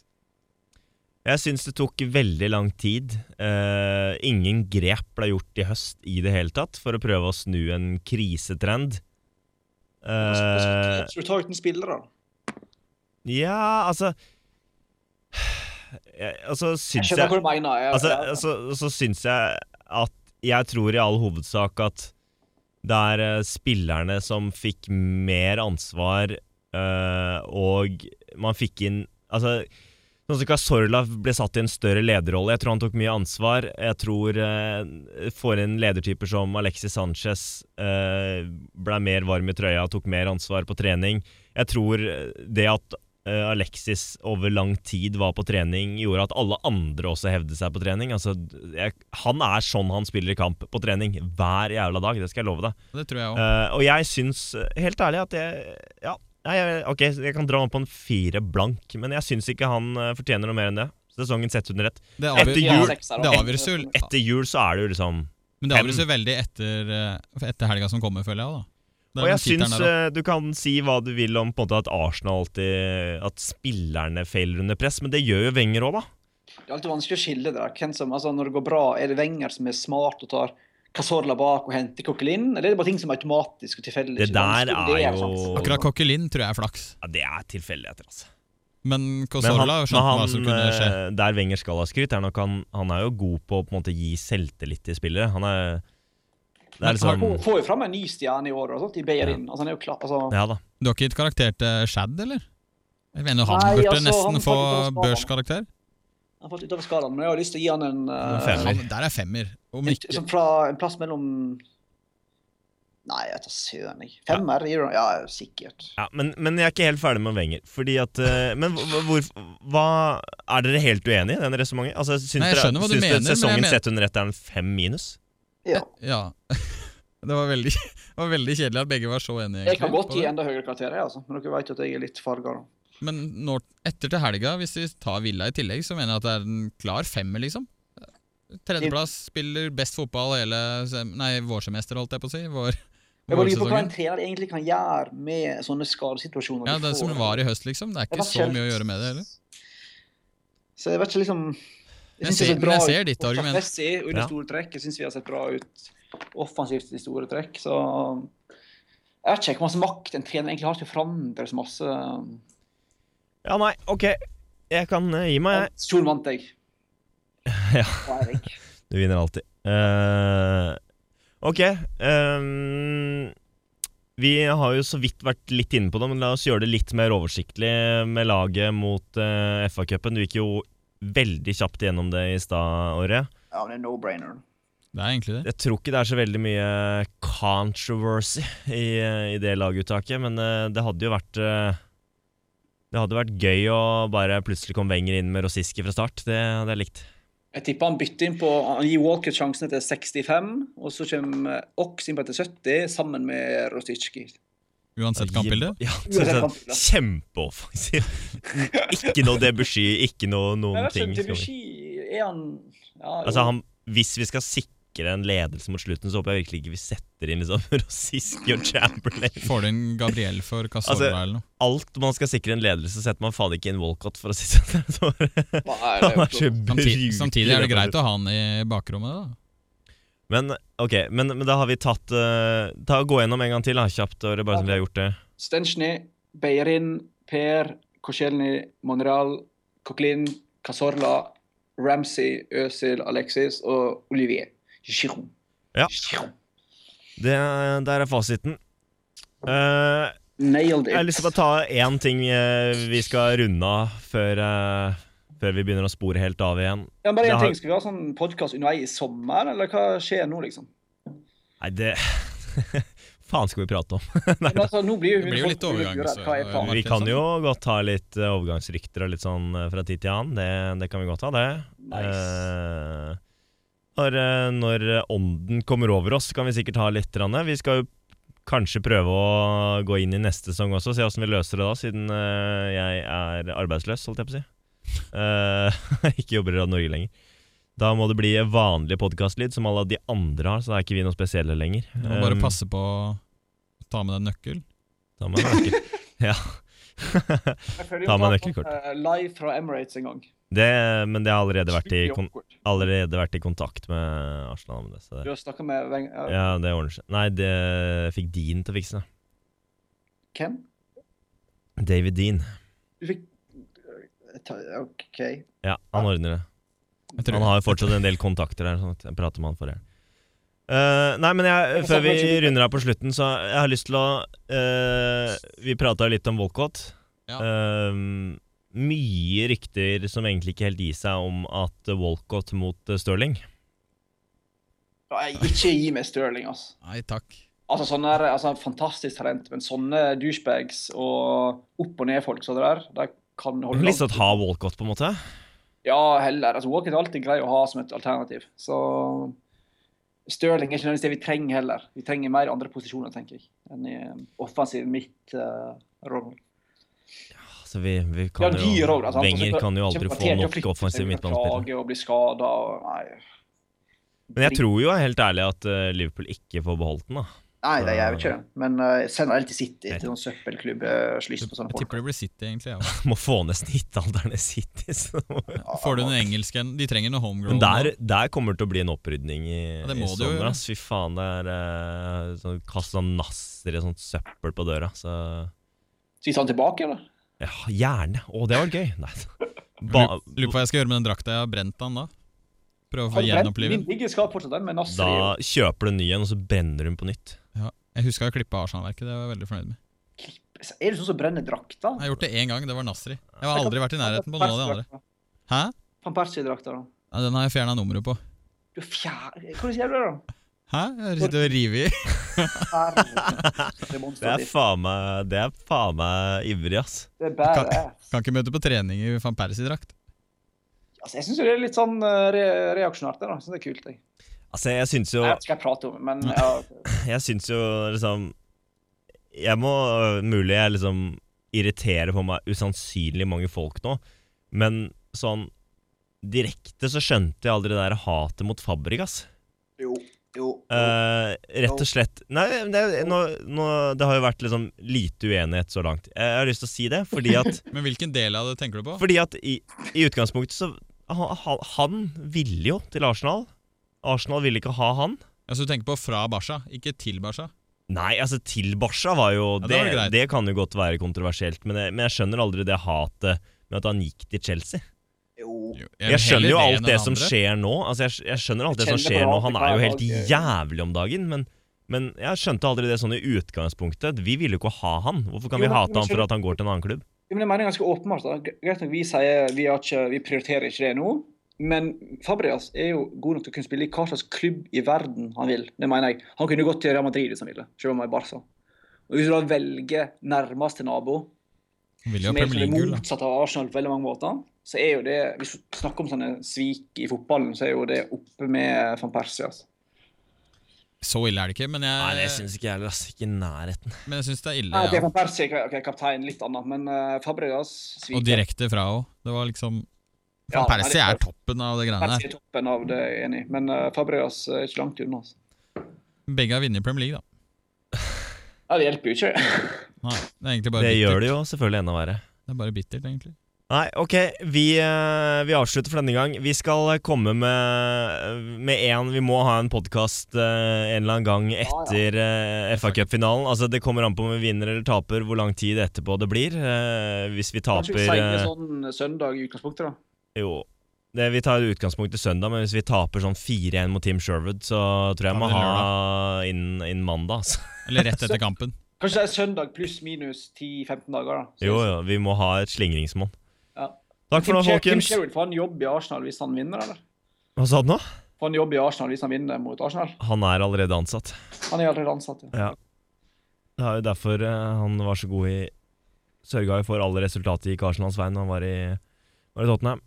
Speaker 1: Jeg syns det tok veldig lang tid. Eh, ingen grep ble gjort i høst i det hele tatt for å prøve å snu en krisetrend. Eh,
Speaker 3: Skal du ta ut en spiller, da?
Speaker 1: ja, altså jeg, Altså,
Speaker 3: Jeg
Speaker 1: syns
Speaker 3: skjønner
Speaker 1: jeg
Speaker 3: hva du mener. Jeg,
Speaker 1: Altså,
Speaker 3: jeg-
Speaker 1: så, så syns jeg at Jeg tror i all hovedsak at det er eh, spillerne som fikk mer ansvar, eh, og man fikk inn Altså, sånn som Cazorla ble satt i en større lederrolle. Jeg tror han tok mye ansvar. Jeg tror eh, får inn ledertyper som Alexis Sanchez eh, ble mer varm i trøya, tok mer ansvar på trening. Jeg tror eh, det at eh, Alexis over lang tid var på trening, gjorde at alle andre også hevde seg på trening. Altså, jeg, han er sånn han spiller i kamp på trening hver jævla dag, det skal jeg love deg.
Speaker 2: Det tror jeg òg.
Speaker 1: Eh, og jeg syns, eh, helt ærlig, at jeg Ja, nei, jeg, ok, jeg kan dra opp på en fire blank, men jeg syns ikke han eh, fortjener noe mer enn det. Sesongen sett under ett.
Speaker 2: Det,
Speaker 1: etter
Speaker 2: avgjør-
Speaker 1: jul-
Speaker 3: seks her,
Speaker 2: det
Speaker 3: da.
Speaker 2: avgjøres jo ja,
Speaker 1: Etter jul så er det jo liksom
Speaker 2: Men det avgjøres jo veldig etter, eh, etter helga som kommer, føler jeg òg, da. Det
Speaker 1: Og
Speaker 2: er den
Speaker 1: jeg
Speaker 2: tittelen
Speaker 1: syns
Speaker 2: der, da.
Speaker 1: eh, du kan si hva du vil om på en måte at Arsenal alltid At spillerne feiler under press, men det gjør jo Wenger òg, da.
Speaker 3: Det er alltid vanskelig å skille det. der. Hvem som, altså, når det går bra, er det Wenger som er smart og tar Casorla bak og henter Coquelin, eller er det bare ting som er automatisk og tilfeldig?
Speaker 1: Det
Speaker 3: Ikke
Speaker 1: der
Speaker 3: vanskelig, det
Speaker 1: er
Speaker 3: sant.
Speaker 1: jo
Speaker 2: Akkurat Coquelin tror jeg er flaks.
Speaker 1: Ja, det er tilfeldigheter, altså.
Speaker 2: Men
Speaker 1: Men han,
Speaker 2: Cozorla
Speaker 1: men
Speaker 2: skjønte hva
Speaker 1: han,
Speaker 2: som kunne skje.
Speaker 1: eh, der Wenger skal ha skryt, er nok han, han er jo god på å på en måte gi selvtillit til spillere. Han er Det
Speaker 2: Men
Speaker 1: er liksom
Speaker 3: Får- Får jo fram en ny stjerne i år og sånt, i Beirin. Altså, han er jo klar, altså,
Speaker 1: Ja da.
Speaker 2: Du har ikke gitt karakter til eh, Shad, eller? Jeg mener, han
Speaker 3: Nei,
Speaker 2: burde
Speaker 3: altså, han
Speaker 2: nesten få
Speaker 3: faktisk var
Speaker 2: børskarakter.
Speaker 3: han har fått utover skalaen, men jeg har lyst til å gi han en, eh,
Speaker 1: Femmer.
Speaker 2: Han, der er femmer. Om
Speaker 3: en,
Speaker 2: ikke
Speaker 3: som fra en plass mellom Nei, jeg tar søren, jeg. Femmer? gir han- Ja, sikkert.
Speaker 1: Ja, men, men jeg er ikke helt ferdig med Wenger. Fordi at eh, Men hv- hva- hvor, hva Er dere helt uenige i den resonnementet? Altså, syns
Speaker 2: Nei, jeg
Speaker 1: dere-
Speaker 2: skjønner hva du
Speaker 1: syns dere
Speaker 2: mener, men jeg
Speaker 1: sesongen
Speaker 2: mener-
Speaker 1: sett under ett er en fem minus?
Speaker 3: Ja.
Speaker 2: Ja. Det var veldig, det var veldig kjedelig at begge var så enige.
Speaker 3: Jeg kan
Speaker 2: egentlig,
Speaker 3: godt
Speaker 2: på
Speaker 3: gi
Speaker 2: det.
Speaker 3: enda høyere karakter, jeg, altså. men dere vet jo at jeg er litt farga. da.
Speaker 2: Men når, etter til helga, hvis vi tar Villa i tillegg, så mener jeg at det er en klar femmer, liksom. Tredjeplass, spiller best fotball hele sem nei, vårsemester, holdt jeg på å si. Vår,
Speaker 3: Jeg bare lurer på hva en
Speaker 2: vårsesongen.
Speaker 3: trener egentlig kan gjøre med sånne skadesituasjoner.
Speaker 2: Ja,
Speaker 3: de
Speaker 2: det som
Speaker 3: får.
Speaker 2: var i høst, liksom. Det er
Speaker 3: Jeg
Speaker 2: ikke
Speaker 3: vet
Speaker 2: så
Speaker 3: ikke
Speaker 2: mye å
Speaker 3: helt.
Speaker 2: gjøre med det heller.
Speaker 3: Så jeg vet ikke, liksom
Speaker 2: Jeg
Speaker 3: synes det
Speaker 2: ser- men
Speaker 3: ser
Speaker 2: jeg
Speaker 3: bra
Speaker 2: ser
Speaker 3: ut
Speaker 2: ditt argument.
Speaker 3: forsvarsmessig og i
Speaker 1: Ja.
Speaker 3: det store trekk. Jeg syns vi har sett bra ut offensivt i store trekk, så Jeg vet ikke hvor masse makt en trener egentlig har til å forandre så masse.
Speaker 1: Ja, nei, ok. Jeg kan eh, gi meg, jeg.
Speaker 3: Sol vant jeg.
Speaker 1: Ja.
Speaker 3: Og Eirik.
Speaker 1: Du vinner alltid. Eh, ok. ehm, vi har jo så vidt vært litt inne på det, men la oss gjøre det litt mer oversiktlig med laget mot eh, FA-cupen. Du gikk jo veldig kjapt gjennom det i stad, Åre.
Speaker 3: Ja, men det er no-brainer.
Speaker 2: Det er egentlig det.
Speaker 1: Jeg tror ikke det er så veldig mye controversy i, i det laguttaket, men eh, det hadde jo vært eh, det hadde vært gøy å bare plutselig komme Wenger inn med Rosiski fra start. Det hadde jeg likt.
Speaker 3: Jeg tipper han bytter inn på Han gir Walker sjansen etter 65, og så kommer Ox inn på etter 70 sammen med Rostitsjki.
Speaker 2: Uansett kampbilde.
Speaker 1: Ja,
Speaker 3: Uansett
Speaker 1: sånn sett, Kjempeoffensiv. Ikke noe Debussy, ikke noe noen
Speaker 3: Jeg vet
Speaker 1: ting.
Speaker 3: ikke,
Speaker 1: skal vi-
Speaker 3: Debussy, er han ja,
Speaker 1: Altså, han, hvis vi skal sikre en ledelse mot slutten, så håper jeg virkelig ikke vi setter inn liksom Rosiski og Chamberlain.
Speaker 2: Får du inn Gabriel for Casorla
Speaker 1: Altså,
Speaker 2: eller noe?
Speaker 1: Alt man skal sikre en ledelse, setter man faen ikke inn Walcott, for å si det sånn. Han er så
Speaker 2: Samtidig,
Speaker 1: brukelig.
Speaker 2: samtidig er det greit å ha han i bakrommet, da.
Speaker 1: Men ok, men, men da har vi tatt eh, Ta Gå gjennom en gang til, da, kjapt, og det er bare som vi har gjort det.
Speaker 3: Stenchny, Beirin, Per, Koscielny, Monreal, Coquelin, Casorla, Ramsey, Øzil, Alexis og Olivier. Giroud.
Speaker 1: Ja.
Speaker 3: Giroud.
Speaker 1: det. Der er fasiten. Eh,
Speaker 3: Nailed
Speaker 1: Jeg har lyst til å
Speaker 3: it.
Speaker 1: bare ta én ting eh, vi skal runde av før, eh, før vi begynner å spore helt av igjen.
Speaker 3: Ja, bare
Speaker 1: det
Speaker 3: en
Speaker 1: har-
Speaker 3: ting. Skal vi ha sånn podkast underveis i sommer, eller hva skjer nå, liksom?
Speaker 1: Nei, det faen skal vi prate om?
Speaker 3: Men altså, nå blir jo
Speaker 2: Det blir jo litt
Speaker 3: folk
Speaker 2: overgang,
Speaker 3: urolige,
Speaker 2: så-
Speaker 3: Hva er planen?
Speaker 1: Vi kan jo godt ta litt eh, overgangsrykter og litt sånn eh, fra tid til annen. Det, det kan vi godt ha, det.
Speaker 3: Nice.
Speaker 1: Eh, når, eh, når ånden kommer over oss, kan vi sikkert ha litt. grann. Vi skal jo kanskje prøve å gå inn i neste sesong også, se åssen vi løser det da, siden eh, jeg er arbeidsløs, holdt jeg på å si. Eh, ikke jobber i Radio Norge lenger. Da må det bli vanlig podkastlyd, som alle de andre har, så da er ikke vi noe spesielle lenger.
Speaker 2: Du må bare
Speaker 1: Um,
Speaker 2: passe på å ta med deg en nøkkel.
Speaker 1: da må jeg merke-
Speaker 3: Jeg føler jo
Speaker 1: Ta med
Speaker 3: bare
Speaker 1: nøkkelkort.
Speaker 3: sånn, eh, Live fra Emirates en gang.
Speaker 1: det, men det har allerede vært i,
Speaker 3: Skikkelig
Speaker 1: kon
Speaker 3: awkward.
Speaker 1: allerede vært i kontakt med Arsenal om det. Så
Speaker 3: Du
Speaker 1: det.
Speaker 3: har snakka med Weng- eh,
Speaker 1: Ja, det ordner seg. Nei, det fikk Dean til å fikse det.
Speaker 3: Hvem?
Speaker 1: David Dean.
Speaker 3: Du fikk eh, ta- OK.
Speaker 1: Ja, han ordner det.
Speaker 2: Jeg tror
Speaker 1: Han har jo fortsatt en del kontakter der. Sånn at jeg prater med han forrige. Uh, nei, men jeg, før vi runder av på slutten, så jeg har lyst til å eh, Vi prata jo litt om Walcott.
Speaker 2: Ja.
Speaker 1: Eh, mye rykter som egentlig ikke helt gir seg om at Walcott mot eh, Sterling.
Speaker 3: Nei, Ikke gi meg Stirling, altså.
Speaker 2: Nei takk.
Speaker 3: Altså, sånne, her- altså Fantastisk talent, men sånne douchebags og opp- og ned-folk som det der, de kan holde
Speaker 1: Lyst til å
Speaker 3: langt.
Speaker 1: ha sånn Walcott, på en måte.
Speaker 3: Ja, heller. Altså, Walcott er alltid grei å ha som et alternativ. Så Stirling er ikke nødvendigvis det vi trenger heller. Vi trenger mer andre posisjoner, tenker jeg, enn i um, offensiv midt-rollen.
Speaker 1: Altså, vi, vi
Speaker 3: ja,
Speaker 1: kan
Speaker 3: dyr
Speaker 1: jo
Speaker 3: også, altså, han som
Speaker 1: Wenger
Speaker 3: skal-
Speaker 1: kan jo aldri
Speaker 3: kjemper
Speaker 1: få
Speaker 3: til å
Speaker 1: nok
Speaker 3: flytte
Speaker 1: offensive
Speaker 3: seg,
Speaker 1: midtbanespillere.
Speaker 3: klage Og bli skadet og Nei.
Speaker 1: Men jeg tror jo helt ærlig at eh, Liverpool ikke får beholdt den, da.
Speaker 3: Nei, det gjør jo ikke det. Men uh, generelt i City,
Speaker 1: Nei.
Speaker 3: til sånn søppelklubb, uh, slyss på sånne
Speaker 2: Jeg
Speaker 3: folk.
Speaker 2: tipper det blir City, egentlig. jeg også.
Speaker 1: Må få ned snittalderen i City. Så. det må-
Speaker 2: Får du en engelsk en? De trenger noe homegrown.
Speaker 1: Men der,
Speaker 2: nå.
Speaker 1: der kommer det til å bli en opprydning i,
Speaker 2: Ja, det
Speaker 1: i
Speaker 2: må det jo
Speaker 1: sommer.
Speaker 2: gjøre.
Speaker 1: Ass. Fy faen, det er eh, sånn, kast sånn nasser i sånt søppel på døra. Så
Speaker 3: Skal vi ta han tilbake, eller?
Speaker 1: ja, gjerne. Å, det var gøy. Nei. Ba,
Speaker 2: Lurer- Lurer på hva jeg skal gjøre med den drakta jeg har brent den da. Prøve å
Speaker 3: Har
Speaker 2: få
Speaker 3: du brent?
Speaker 2: gjenopplive
Speaker 3: Min
Speaker 2: den.
Speaker 3: ligger skal fortsatt den med Nasri.
Speaker 1: da kjøper du en ny en, og så brenner du den på nytt.
Speaker 2: Ja. Jeg huska jeg klippa Arsenal-verket, det var jeg veldig fornøyd med.
Speaker 3: Er det sånn som brenner drakta?
Speaker 2: Jeg har gjort det én gang, det var Nasri. Jeg har aldri vært i nærheten på noen av de andre. Hæ?
Speaker 3: Van Persie-drakta, da.
Speaker 2: Nei, den har jeg fjerna nummeret på.
Speaker 3: Du er fjær... Hva sier du, da?
Speaker 2: Hæ? Jeg sitter og river i.
Speaker 3: Herre. Det er
Speaker 1: Det er
Speaker 3: monsterdiff.
Speaker 1: faen meg, det er faen meg ivrig, ass.
Speaker 3: Det er bare
Speaker 2: Kan ikke møte på trening i van Persie-drakt.
Speaker 3: Altså, jeg syns jo det er litt sånn eh, re reaksjonært. der, da. Jeg synes det er kult. Jeg.
Speaker 1: Altså, jeg syns jo
Speaker 3: jeg vet ikke hva jeg prater om, men ja,
Speaker 1: jeg syns jo liksom Jeg må øh, mulig jeg liksom irritere på meg usannsynlig mange folk nå, men sånn direkte så skjønte jeg aldri det der hatet mot Fabregas.
Speaker 3: jo, jo.
Speaker 1: Eh, rett og slett Nei, men det, nå, nå, det har jo vært liksom lite uenighet så langt. Jeg har lyst til å si det, fordi at,
Speaker 2: Men hvilken del av det tenker du på?
Speaker 1: fordi at i, i utgangspunktet så han, han- han ville jo til Arsenal. Arsenal ville ikke ha han.
Speaker 2: Altså, du tenker på fra Barca, ikke til Barca.
Speaker 1: Nei, altså til Barca var jo
Speaker 2: Ja, det
Speaker 1: det, det,
Speaker 2: var greit.
Speaker 1: kan jo godt være kontroversielt, men jeg, men jeg skjønner aldri det hatet med at han gikk til Chelsea.
Speaker 3: jo.
Speaker 2: Jo,
Speaker 1: Jeg skjønner jo
Speaker 2: heller
Speaker 1: alt
Speaker 2: enn
Speaker 1: det
Speaker 2: den
Speaker 1: som
Speaker 2: andre.
Speaker 1: skjer nå. Altså jeg, jeg skjønner alt
Speaker 3: Jeg
Speaker 1: det som
Speaker 3: kjenner på
Speaker 1: skjer nå.
Speaker 3: alt
Speaker 1: Han
Speaker 3: i
Speaker 1: er jo
Speaker 3: hver
Speaker 1: helt
Speaker 3: dag,
Speaker 1: jævlig om dagen, men, men jeg skjønte aldri det sånn i utgangspunktet. Vi ville jo ikke ha han. Hvorfor kan
Speaker 3: Jo,
Speaker 1: vi
Speaker 3: men-
Speaker 1: hate
Speaker 3: men
Speaker 1: han for
Speaker 3: skjønner-
Speaker 1: at han går til en annen klubb?
Speaker 3: Jo, men jeg mener ganske åpenbart. da. Gre- Greit nok vi sier vi, har ikke, vi prioriterer ikke det nå, men Fabrias er jo god nok til å kunne spille i hva slags klubb i verden han vil. Det mener jeg. Han kunne gått til Real Madrid hvis han ville, selv om han er i Barca. Og Hvis du da velger nærmeste nabo,
Speaker 2: Vil jo
Speaker 3: som
Speaker 2: ha
Speaker 3: er liksom
Speaker 2: Premier
Speaker 3: det
Speaker 2: League-gull, da.
Speaker 3: motsatte av Arsenal på veldig mange måter, så er jo det Hvis du snakker om sånne svik i fotballen, så er jo det oppe med van Persie. Altså.
Speaker 2: Så ille er det ikke, men jeg,
Speaker 3: Eh,
Speaker 1: Nei, det syns ikke jeg heller. ass. Ikke i nærheten.
Speaker 2: men jeg syns det er ille.
Speaker 3: Nei, Ah, ok,
Speaker 2: Ja.
Speaker 3: van Persie ok, ok, kaptein, litt annet, men uh, Fabrias sviker.
Speaker 2: Og direkte fra òg. Det var liksom
Speaker 3: Ja,
Speaker 2: Van
Speaker 3: nei, det
Speaker 2: Persie
Speaker 3: er
Speaker 2: er toppen av det greiene
Speaker 3: Persie
Speaker 2: der.
Speaker 3: er toppen av det, jeg er enig i, men uh, Fabrias er ikke langt unna. Altså.
Speaker 2: Begge har vunnet Premier League, da.
Speaker 3: Ja, det hjelper jo ikke.
Speaker 2: Nei, det er egentlig bare
Speaker 1: Det
Speaker 2: bittert.
Speaker 1: gjør det jo selvfølgelig enda verre.
Speaker 2: Det er bare bittert, egentlig.
Speaker 1: Nei, ok, vi, eh, vi avslutter for denne gang. Vi skal komme med, med en Vi må ha en podkast en eller annen gang etter eh, FA Cup-finalen. Altså, det kommer an på om vi vinner eller taper, hvor lang tid etterpå det blir. Eh, hvis vi
Speaker 3: Kanskje
Speaker 1: taper
Speaker 3: vi sier
Speaker 1: eh,
Speaker 3: sånn søndag i utgangspunktet, da.
Speaker 1: Jo. Det, vi tar utgangspunkt i søndag, men hvis vi taper sånn 4-1 mot Team Sherwood, så tror jeg
Speaker 2: Ta
Speaker 1: jeg må
Speaker 2: det
Speaker 1: ha innen innen mandag. Altså.
Speaker 2: Eller rett etter kampen.
Speaker 3: Kanskje det er søndag pluss minus 10-15 dager, da.
Speaker 1: Jo, jo, vi må ha et slingringsmonn.
Speaker 3: Ja.
Speaker 1: Takk for nå,
Speaker 3: Kim
Speaker 1: folkens.
Speaker 3: Sherwood, får han jobb i Arsenal hvis han vinner, eller?
Speaker 1: Hva sa du nå?
Speaker 3: Får han jobb i Arsenal hvis han vinner mot Arsenal?
Speaker 1: Han er allerede ansatt.
Speaker 3: Han er allerede ansatt, ja.
Speaker 1: Ja. Det er jo derfor eh, han var så god i Sørga jo for alle resultater i Arsenals vei når han var i, var i Tottenham.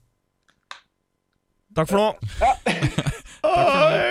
Speaker 1: Takk for nå!
Speaker 3: Ja.
Speaker 1: Takk for nå.